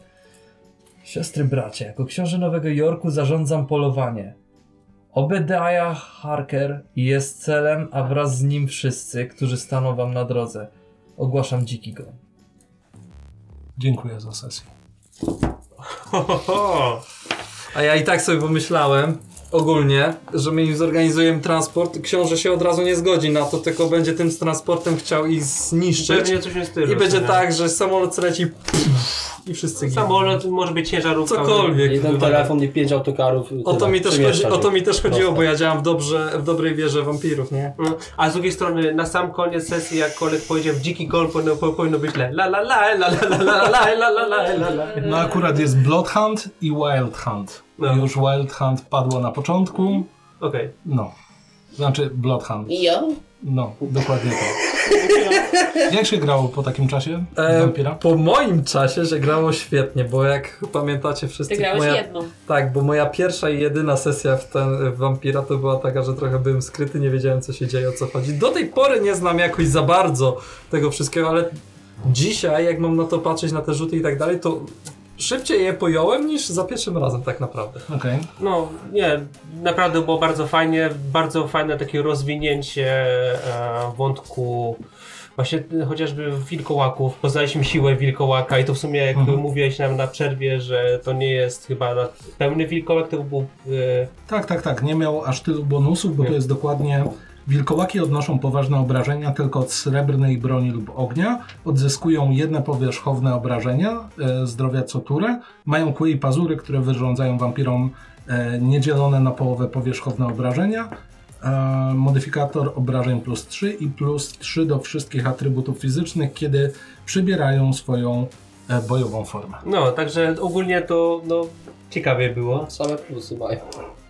Speaker 7: Siostry bracia, jako książę Nowego Jorku zarządzam polowanie. Obediah Harker jest celem, a wraz z nim wszyscy, którzy staną wam na drodze. Ogłaszam dziki goń.
Speaker 1: Dziękuję za sesję.
Speaker 3: Ho, ho, ho.
Speaker 6: A ja i tak sobie pomyślałem ogólnie, że my im zorganizujemy transport. Książę się od razu nie zgodzi na to, tylko będzie tym transportem chciał ich zniszczyć.
Speaker 3: Pewnie coś jest tym.
Speaker 6: I będzie
Speaker 3: nie?
Speaker 6: tak, że samolot leci pff, i wszyscy giną.
Speaker 3: Samolot, może być ciężarówka.
Speaker 6: Cokolwiek.
Speaker 2: Jeden telefon i pięć autokarów.
Speaker 6: O to,
Speaker 2: tyle.
Speaker 6: mi też chodzi,
Speaker 2: Przemieszcza
Speaker 6: o to
Speaker 2: się.
Speaker 6: mi też chodziło,
Speaker 2: Proste.
Speaker 6: bo ja działam w, dobrze, w dobrej wierze wampirów, nie?
Speaker 3: No, A z drugiej strony, na sam koniec sesji, jak koleg powiedział, w dziki gol powinno, po- powinno być le. La la la la la la la la la la la la la.
Speaker 6: E,
Speaker 1: No akurat jest Blood Hunt i Wild Hunt.
Speaker 3: No.
Speaker 1: Już Wild Hunt padło na początku.
Speaker 3: Okej.
Speaker 1: No. Znaczy Blood Hunt.
Speaker 8: Ja?
Speaker 1: No, dokładnie to. Jak się grało po takim czasie?
Speaker 6: E,
Speaker 1: Wampira?
Speaker 6: po moim czasie, że grało świetnie, bo jak pamiętacie wszyscy...
Speaker 4: Ty grałeś
Speaker 6: moja,
Speaker 4: jedną.
Speaker 6: Tak, bo moja pierwsza i jedyna sesja w, ten, w Vampira to była taka, że trochę byłem skryty, nie wiedziałem co się dzieje, o co chodzi. Do tej pory nie znam jakoś za bardzo tego wszystkiego, ale dzisiaj, jak mam na to patrzeć, na te rzuty i tak dalej, to szybciej je pojąłem niż za pierwszym razem tak naprawdę.
Speaker 1: Okej.
Speaker 3: No, nie, naprawdę było bardzo fajnie, bardzo fajne takie rozwinięcie e, wątku właśnie e, chociażby wilkołaków. Poznaliśmy siłę wilkołaka i to w sumie jak
Speaker 1: Mhm.
Speaker 3: mówiłeś nam na przerwie, że to nie jest chyba na- pełny wilkołak, to był e,
Speaker 1: Tak, tak, tak. Nie miał aż tylu bonusów, bo
Speaker 3: Nie.
Speaker 1: to jest dokładnie. Wilkołaki odnoszą poważne obrażenia tylko od srebrnej broni lub ognia, odzyskują jedne powierzchowne obrażenia e, zdrowia co turę, mają kły i pazury, które wyrządzają wampirom e, niedzielone na połowę powierzchowne obrażenia, e, modyfikator obrażeń plus 3 i plus 3 do wszystkich atrybutów fizycznych, kiedy przybierają swoją e, bojową formę.
Speaker 3: No, także ogólnie to no, ciekawie było.
Speaker 2: Same plusy mają.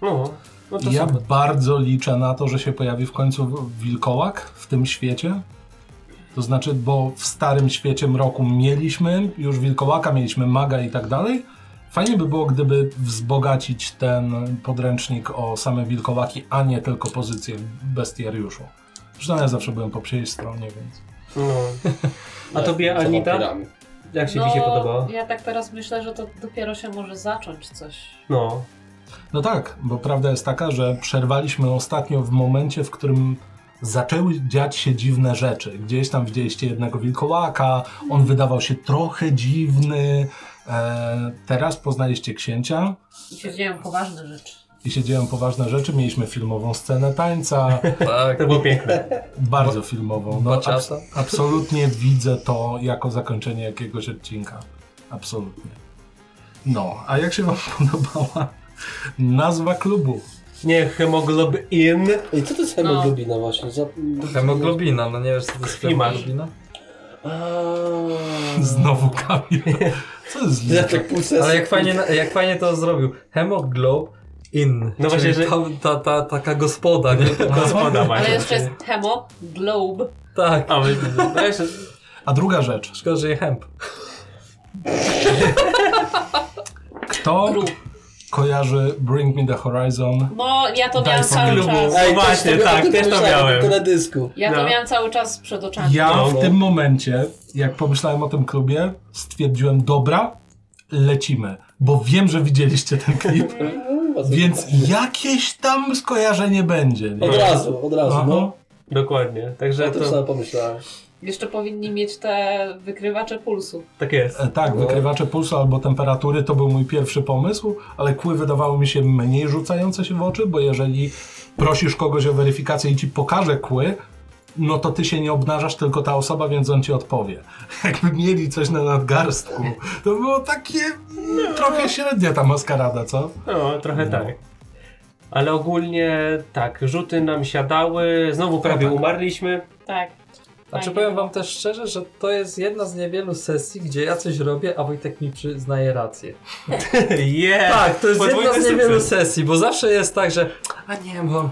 Speaker 3: No, no to
Speaker 1: Ja
Speaker 3: super.
Speaker 1: bardzo liczę na to, że się pojawi w końcu w- wilkołak w tym świecie. To znaczy, bo w starym świecie mroku mieliśmy już wilkołaka, mieliśmy maga i tak dalej. Fajnie by było, gdyby wzbogacić ten podręcznik o same wilkołaki, a nie tylko pozycję bestiariuszu. Zresztą ja zawsze byłem po przyjej stronie, więc...
Speaker 3: No. A tobie,
Speaker 2: Za
Speaker 3: Anita?
Speaker 2: wampirami.
Speaker 3: Jak się ci się podobało?
Speaker 4: Ja tak teraz myślę, że to dopiero się może zacząć coś.
Speaker 3: No.
Speaker 1: No tak, bo prawda jest taka, że przerwaliśmy ostatnio w momencie, w którym zaczęły dziać się dziwne rzeczy. Gdzieś tam widzieliście jednego wilkołaka, on wydawał się trochę dziwny. E, teraz poznaliście księcia
Speaker 4: I się dzieją
Speaker 6: Tak.
Speaker 4: poważne rzeczy.
Speaker 1: i się dzieją poważne rzeczy. Mieliśmy filmową scenę tańca,
Speaker 5: Tak.
Speaker 3: To było piękne.
Speaker 1: bardzo filmową. No, abs
Speaker 5: Baciata.
Speaker 1: absolutnie widzę to jako zakończenie jakiegoś odcinka. Absolutnie. No, a jak się Wam podobała nazwa klubu?
Speaker 3: Nie, hemoglobin.
Speaker 2: I co to jest
Speaker 6: No.
Speaker 2: hemoglobina właśnie? Za...
Speaker 6: Hemoglobina, no nie wiesz co to jest
Speaker 3: Klimasz.
Speaker 6: hemoglobina?
Speaker 2: Aaa.
Speaker 1: Znowu Kamil. Co jest
Speaker 2: Ja
Speaker 1: źle?
Speaker 2: tak pół sesji-
Speaker 6: Ale jak fajnie, jak fajnie to zrobił. Hemoglob in.
Speaker 3: No właśnie,
Speaker 6: czyli
Speaker 3: że-
Speaker 6: ta, ta, ta, taka gospoda, nie?
Speaker 3: Gospoda
Speaker 4: Ale
Speaker 3: właśnie.
Speaker 4: jeszcze jest Hemo Globe.
Speaker 6: Tak.
Speaker 3: A, my, no jeszcze,
Speaker 1: A druga rzecz.
Speaker 6: Szkoda, że je hemp.
Speaker 1: Kto kojarzy Bring Me The Horizon?
Speaker 4: No, ja to
Speaker 1: Daj
Speaker 4: miałam
Speaker 1: po
Speaker 4: cały
Speaker 3: klubu.
Speaker 4: czas.
Speaker 2: Ej,
Speaker 3: No właśnie,
Speaker 2: też to-
Speaker 3: tak,
Speaker 2: o tym
Speaker 3: też to
Speaker 2: pomyślałem,
Speaker 3: miałem.
Speaker 2: o teledysku.
Speaker 4: Ja to
Speaker 3: No.
Speaker 4: miałem cały czas przed oczami.
Speaker 1: Ja
Speaker 2: No.
Speaker 1: w tym momencie, jak pomyślałem o tym klubie, stwierdziłem, dobra, lecimy. Bo wiem, że widzieliście ten klip, więc jakieś tam skojarzenie będzie. Nie?
Speaker 2: Od razu, od razu,
Speaker 1: Aha.
Speaker 2: no.
Speaker 3: dokładnie.
Speaker 2: Ja
Speaker 6: No
Speaker 3: Także
Speaker 2: to
Speaker 3: to
Speaker 2: samo pomyślałem.
Speaker 4: Jeszcze powinni mieć te wykrywacze pulsu.
Speaker 3: tak jest.
Speaker 1: E, Tak, wykrywacze pulsu albo temperatury to był mój pierwszy pomysł, ale kły wydawały mi się mniej rzucające się w oczy, bo jeżeli prosisz kogoś o weryfikację i ci pokaże kły, no to ty się nie obnażasz, tylko ta osoba, więc on ci odpowie. Jakby mieli coś na nadgarstku, to było takie mm, trochę średnia ta maskarada, co?
Speaker 3: No, trochę tak. Ale ogólnie tak, rzuty nam siadały, znowu prawie umarliśmy.
Speaker 4: Tak.
Speaker 6: A czy
Speaker 4: Fajnie.
Speaker 6: powiem wam też szczerze, że to jest jedna z niewielu sesji, gdzie ja coś robię, a Wojtek mi przyznaje rację.
Speaker 3: Yeah.
Speaker 6: Tak, to jest
Speaker 3: Podwójny
Speaker 6: jedna z
Speaker 3: sukces.
Speaker 6: niewielu sesji, bo zawsze jest tak, że a nie, bo...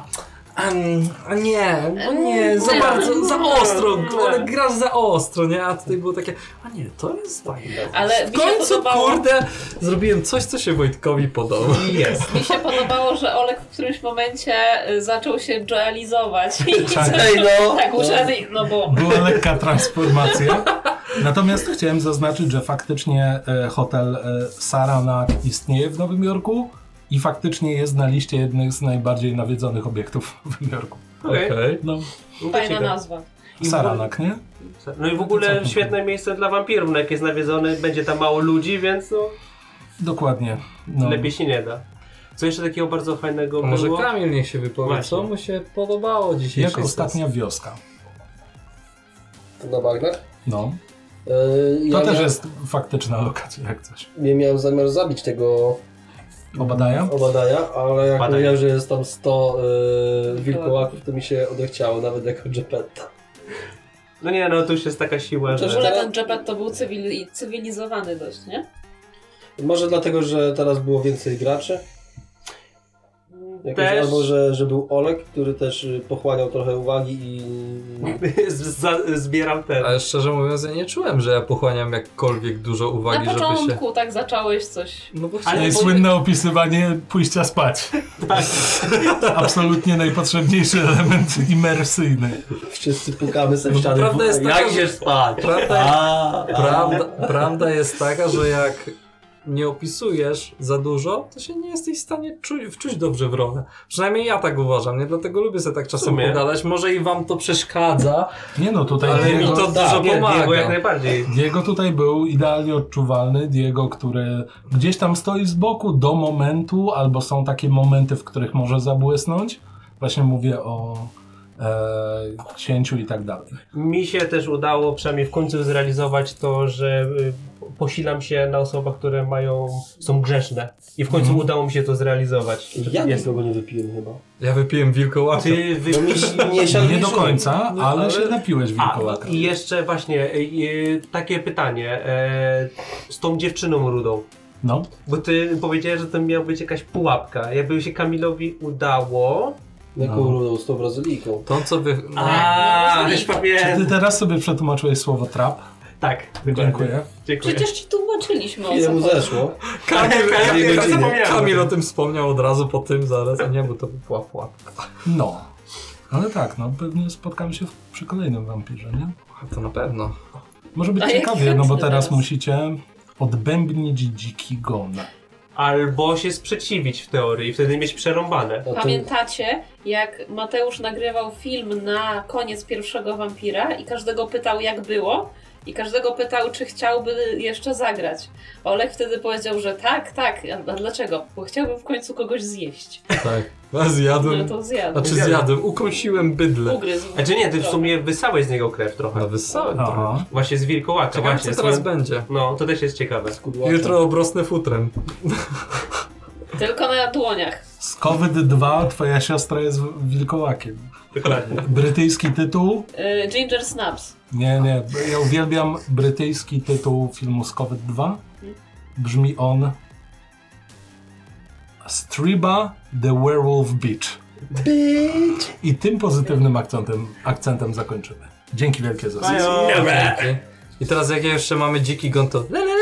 Speaker 6: A, n- a nie, bo nie, za bardzo, za ostro, ale grasz za ostro, nie? A tutaj było takie, a nie, to jest fajne.
Speaker 4: Ale
Speaker 6: W
Speaker 4: mi się
Speaker 6: końcu,
Speaker 4: podobało,
Speaker 6: kurde, zrobiłem coś, co się Wojtkowi podoba.
Speaker 3: Jest.
Speaker 4: mi się podobało, że Olek w którymś momencie y, zaczął się joelizować. I
Speaker 1: Tak.
Speaker 4: zaczął-
Speaker 2: Ej, no.
Speaker 4: Tak, usiadł, i- no bo
Speaker 1: Była lekka transformacja. Natomiast chciałem zaznaczyć, że faktycznie e, hotel e, Saranac istnieje w Nowym Jorku i faktycznie jest na liście jednych z najbardziej nawiedzonych obiektów w Nowym Jorku.
Speaker 3: Okej.
Speaker 1: No,
Speaker 3: No to
Speaker 4: Fajna
Speaker 3: ciekawe.
Speaker 4: nazwa.
Speaker 1: Saranac, nie?
Speaker 3: No i w
Speaker 1: Całkiem
Speaker 3: ogóle świetne miejsce dla wampirów, no jak jest nawiedzony, będzie tam mało ludzi, więc no,
Speaker 1: Dokładnie. No.
Speaker 3: lepiej się nie da. Co jeszcze takiego bardzo fajnego
Speaker 6: A może
Speaker 3: było?
Speaker 6: Kamil niech się wypowie,
Speaker 3: Właśnie.
Speaker 6: co mu się podobało dzisiaj.
Speaker 1: Jak ostatnia wioska.
Speaker 2: Na bagnach?
Speaker 1: No.
Speaker 2: Yy,
Speaker 1: To
Speaker 2: E, ja
Speaker 1: też
Speaker 2: mia-
Speaker 1: jest faktyczna lokacja, jak coś.
Speaker 2: Nie miałem zamiar zabić tego
Speaker 1: Obadaja?
Speaker 2: obadaja, ale
Speaker 3: Badaja.
Speaker 2: jak powiedział, że jest tam 100 yy,
Speaker 6: Tak.
Speaker 2: wilkołaków, to mi się odechciało, nawet jako Geppetta.
Speaker 3: No nie, no tu już jest taka siła,
Speaker 4: W
Speaker 2: Chociaż-
Speaker 3: że...
Speaker 4: ogóle ten Jepet to był cywili- cywilizowany dość, nie?
Speaker 2: Może dlatego, że teraz było więcej graczy? Jakoś,
Speaker 3: Też
Speaker 2: Albo że, że był Olek, który też y, pochłaniał trochę uwagi i...
Speaker 3: z- za- zbieram ten.
Speaker 6: Ale szczerze mówiąc, ja nie czułem, że ja pochłaniam jakkolwiek dużo
Speaker 4: Na
Speaker 6: uwagi, żeby się...
Speaker 4: początku tak zacząłeś coś.
Speaker 6: No bo
Speaker 3: Ale
Speaker 1: Ale
Speaker 3: bo-
Speaker 1: słynne opisywanie pójścia spać.
Speaker 3: Tak.
Speaker 1: Absolutnie najpotrzebniejszy element imersyjny.
Speaker 2: Wszyscy pukamy sobie
Speaker 6: No,
Speaker 2: w ścianę.
Speaker 6: prawda jest taka,
Speaker 2: Jak
Speaker 6: że-
Speaker 2: się spać?
Speaker 6: Prawda,
Speaker 2: A, a.
Speaker 6: prawda, prawda jest taka, że jak nie opisujesz za dużo, to się nie jesteś w stanie czuć, wczuć dobrze w rolę. Przynajmniej ja tak uważam, nie? Dlatego lubię sobie tak czasem
Speaker 3: sumie.
Speaker 6: pogadać. Może i wam to przeszkadza,
Speaker 1: Nie no, tutaj
Speaker 6: ale mi
Speaker 1: Diego,
Speaker 6: to
Speaker 2: tak,
Speaker 6: dużo
Speaker 3: Nie, Diego jak
Speaker 6: pomaga.
Speaker 3: najbardziej.
Speaker 1: Diego tutaj był idealnie odczuwalny. Diego, który gdzieś tam stoi z boku do momentu, albo są takie momenty, w których może zabłysnąć. Właśnie mówię o e, księciu i tak dalej.
Speaker 3: Mi się też udało przynajmniej w końcu zrealizować to, że y, posilam się na osobach, które mają, są grzeszne. I w
Speaker 6: Mhm.
Speaker 3: końcu udało mi się to zrealizować.
Speaker 2: Ja nikogo nie wypiłem chyba.
Speaker 6: Ja wypiłem wilkołaka.
Speaker 3: Ty
Speaker 2: No mi
Speaker 3: wypisz...
Speaker 2: się- nie, siadł
Speaker 1: Nie
Speaker 2: mi
Speaker 1: do
Speaker 2: żółw.
Speaker 1: końca,
Speaker 6: No,
Speaker 1: ale
Speaker 6: ale-
Speaker 1: się napiłeś
Speaker 3: A, no
Speaker 1: wilkołaka.
Speaker 3: i jeszcze właśnie y, y, takie pytanie e, z tą dziewczyną rudą.
Speaker 1: No,
Speaker 3: Bo ty powiedziałeś, że to miała być jakaś pułapka. Jakby się Kamilowi udało...
Speaker 2: Jaką
Speaker 1: No.
Speaker 2: rudą z tą brazylijką?
Speaker 6: To co wy... No,
Speaker 3: A, już
Speaker 1: czy ty
Speaker 3: pamiętam.
Speaker 1: teraz sobie przetłumaczyłeś słowo trap?
Speaker 3: Tak, dokładnie.
Speaker 1: Dziękuję.
Speaker 3: Dziękuję.
Speaker 4: Przecież ci tłumaczyliśmy o
Speaker 2: Ile mu
Speaker 4: co chodzi.
Speaker 2: zeszło?
Speaker 3: Kamil, ja
Speaker 2: Dwie
Speaker 3: pierwszy
Speaker 2: godziny.
Speaker 3: zapomniałem.
Speaker 6: Kamil o tym wspomniał od razu po tym zaraz, a nie, bo to była pułapka.
Speaker 1: No. Ale tak, no pewnie spotkamy się w, przy kolejnym wampirze, nie?
Speaker 6: To na pewno.
Speaker 1: Może być
Speaker 4: A jak
Speaker 1: ciekawie, no bo
Speaker 4: chętny
Speaker 1: teraz
Speaker 4: teraz.
Speaker 1: musicie odbębnić dziki gon.
Speaker 3: Albo się sprzeciwić w teorii i wtedy mieć przerąbane.
Speaker 2: No to-
Speaker 4: Pamiętacie, jak Mateusz nagrywał film na koniec pierwszego wampira i każdego pytał, jak było? I każdego pytał, czy chciałby jeszcze zagrać. Olek wtedy powiedział, że tak, tak. A- A dlaczego? Bo chciałbym w końcu kogoś zjść.
Speaker 6: Tak.
Speaker 4: No
Speaker 6: Zjadłem...
Speaker 4: to zjadł.
Speaker 6: Znaczy zjadłem, ukąsiłem bydle.
Speaker 4: Ugryzł.
Speaker 3: Znaczy nie, ty w sumie wysałeś z niego krew trochę.
Speaker 6: No wyssałem trochę.
Speaker 1: Aha.
Speaker 3: Właśnie z wilkołaka.
Speaker 6: Ciekawe,
Speaker 3: właśnie,
Speaker 6: co teraz
Speaker 3: swoją-
Speaker 6: będzie.
Speaker 3: No, to też jest ciekawe.
Speaker 2: Kudłaka.
Speaker 6: Jutro obrosnę futrem.
Speaker 4: Tylko na dłoniach.
Speaker 1: Z COVID-2 twoja siostra jest wilkołakiem.
Speaker 3: Dokładnie.
Speaker 1: Brytyjski tytuł?
Speaker 4: Y, Ginger Snaps.
Speaker 1: Nie, nie. Ja uwielbiam brytyjski tytuł filmu z COVID-2. Brzmi on Striba the Werewolf Beach. I tym pozytywnym akcentem, akcentem zakończymy. Dzięki wielkie za
Speaker 3: Majo.
Speaker 6: Dzięki. I teraz jak ja jeszcze mamy dziki gon, to le, le,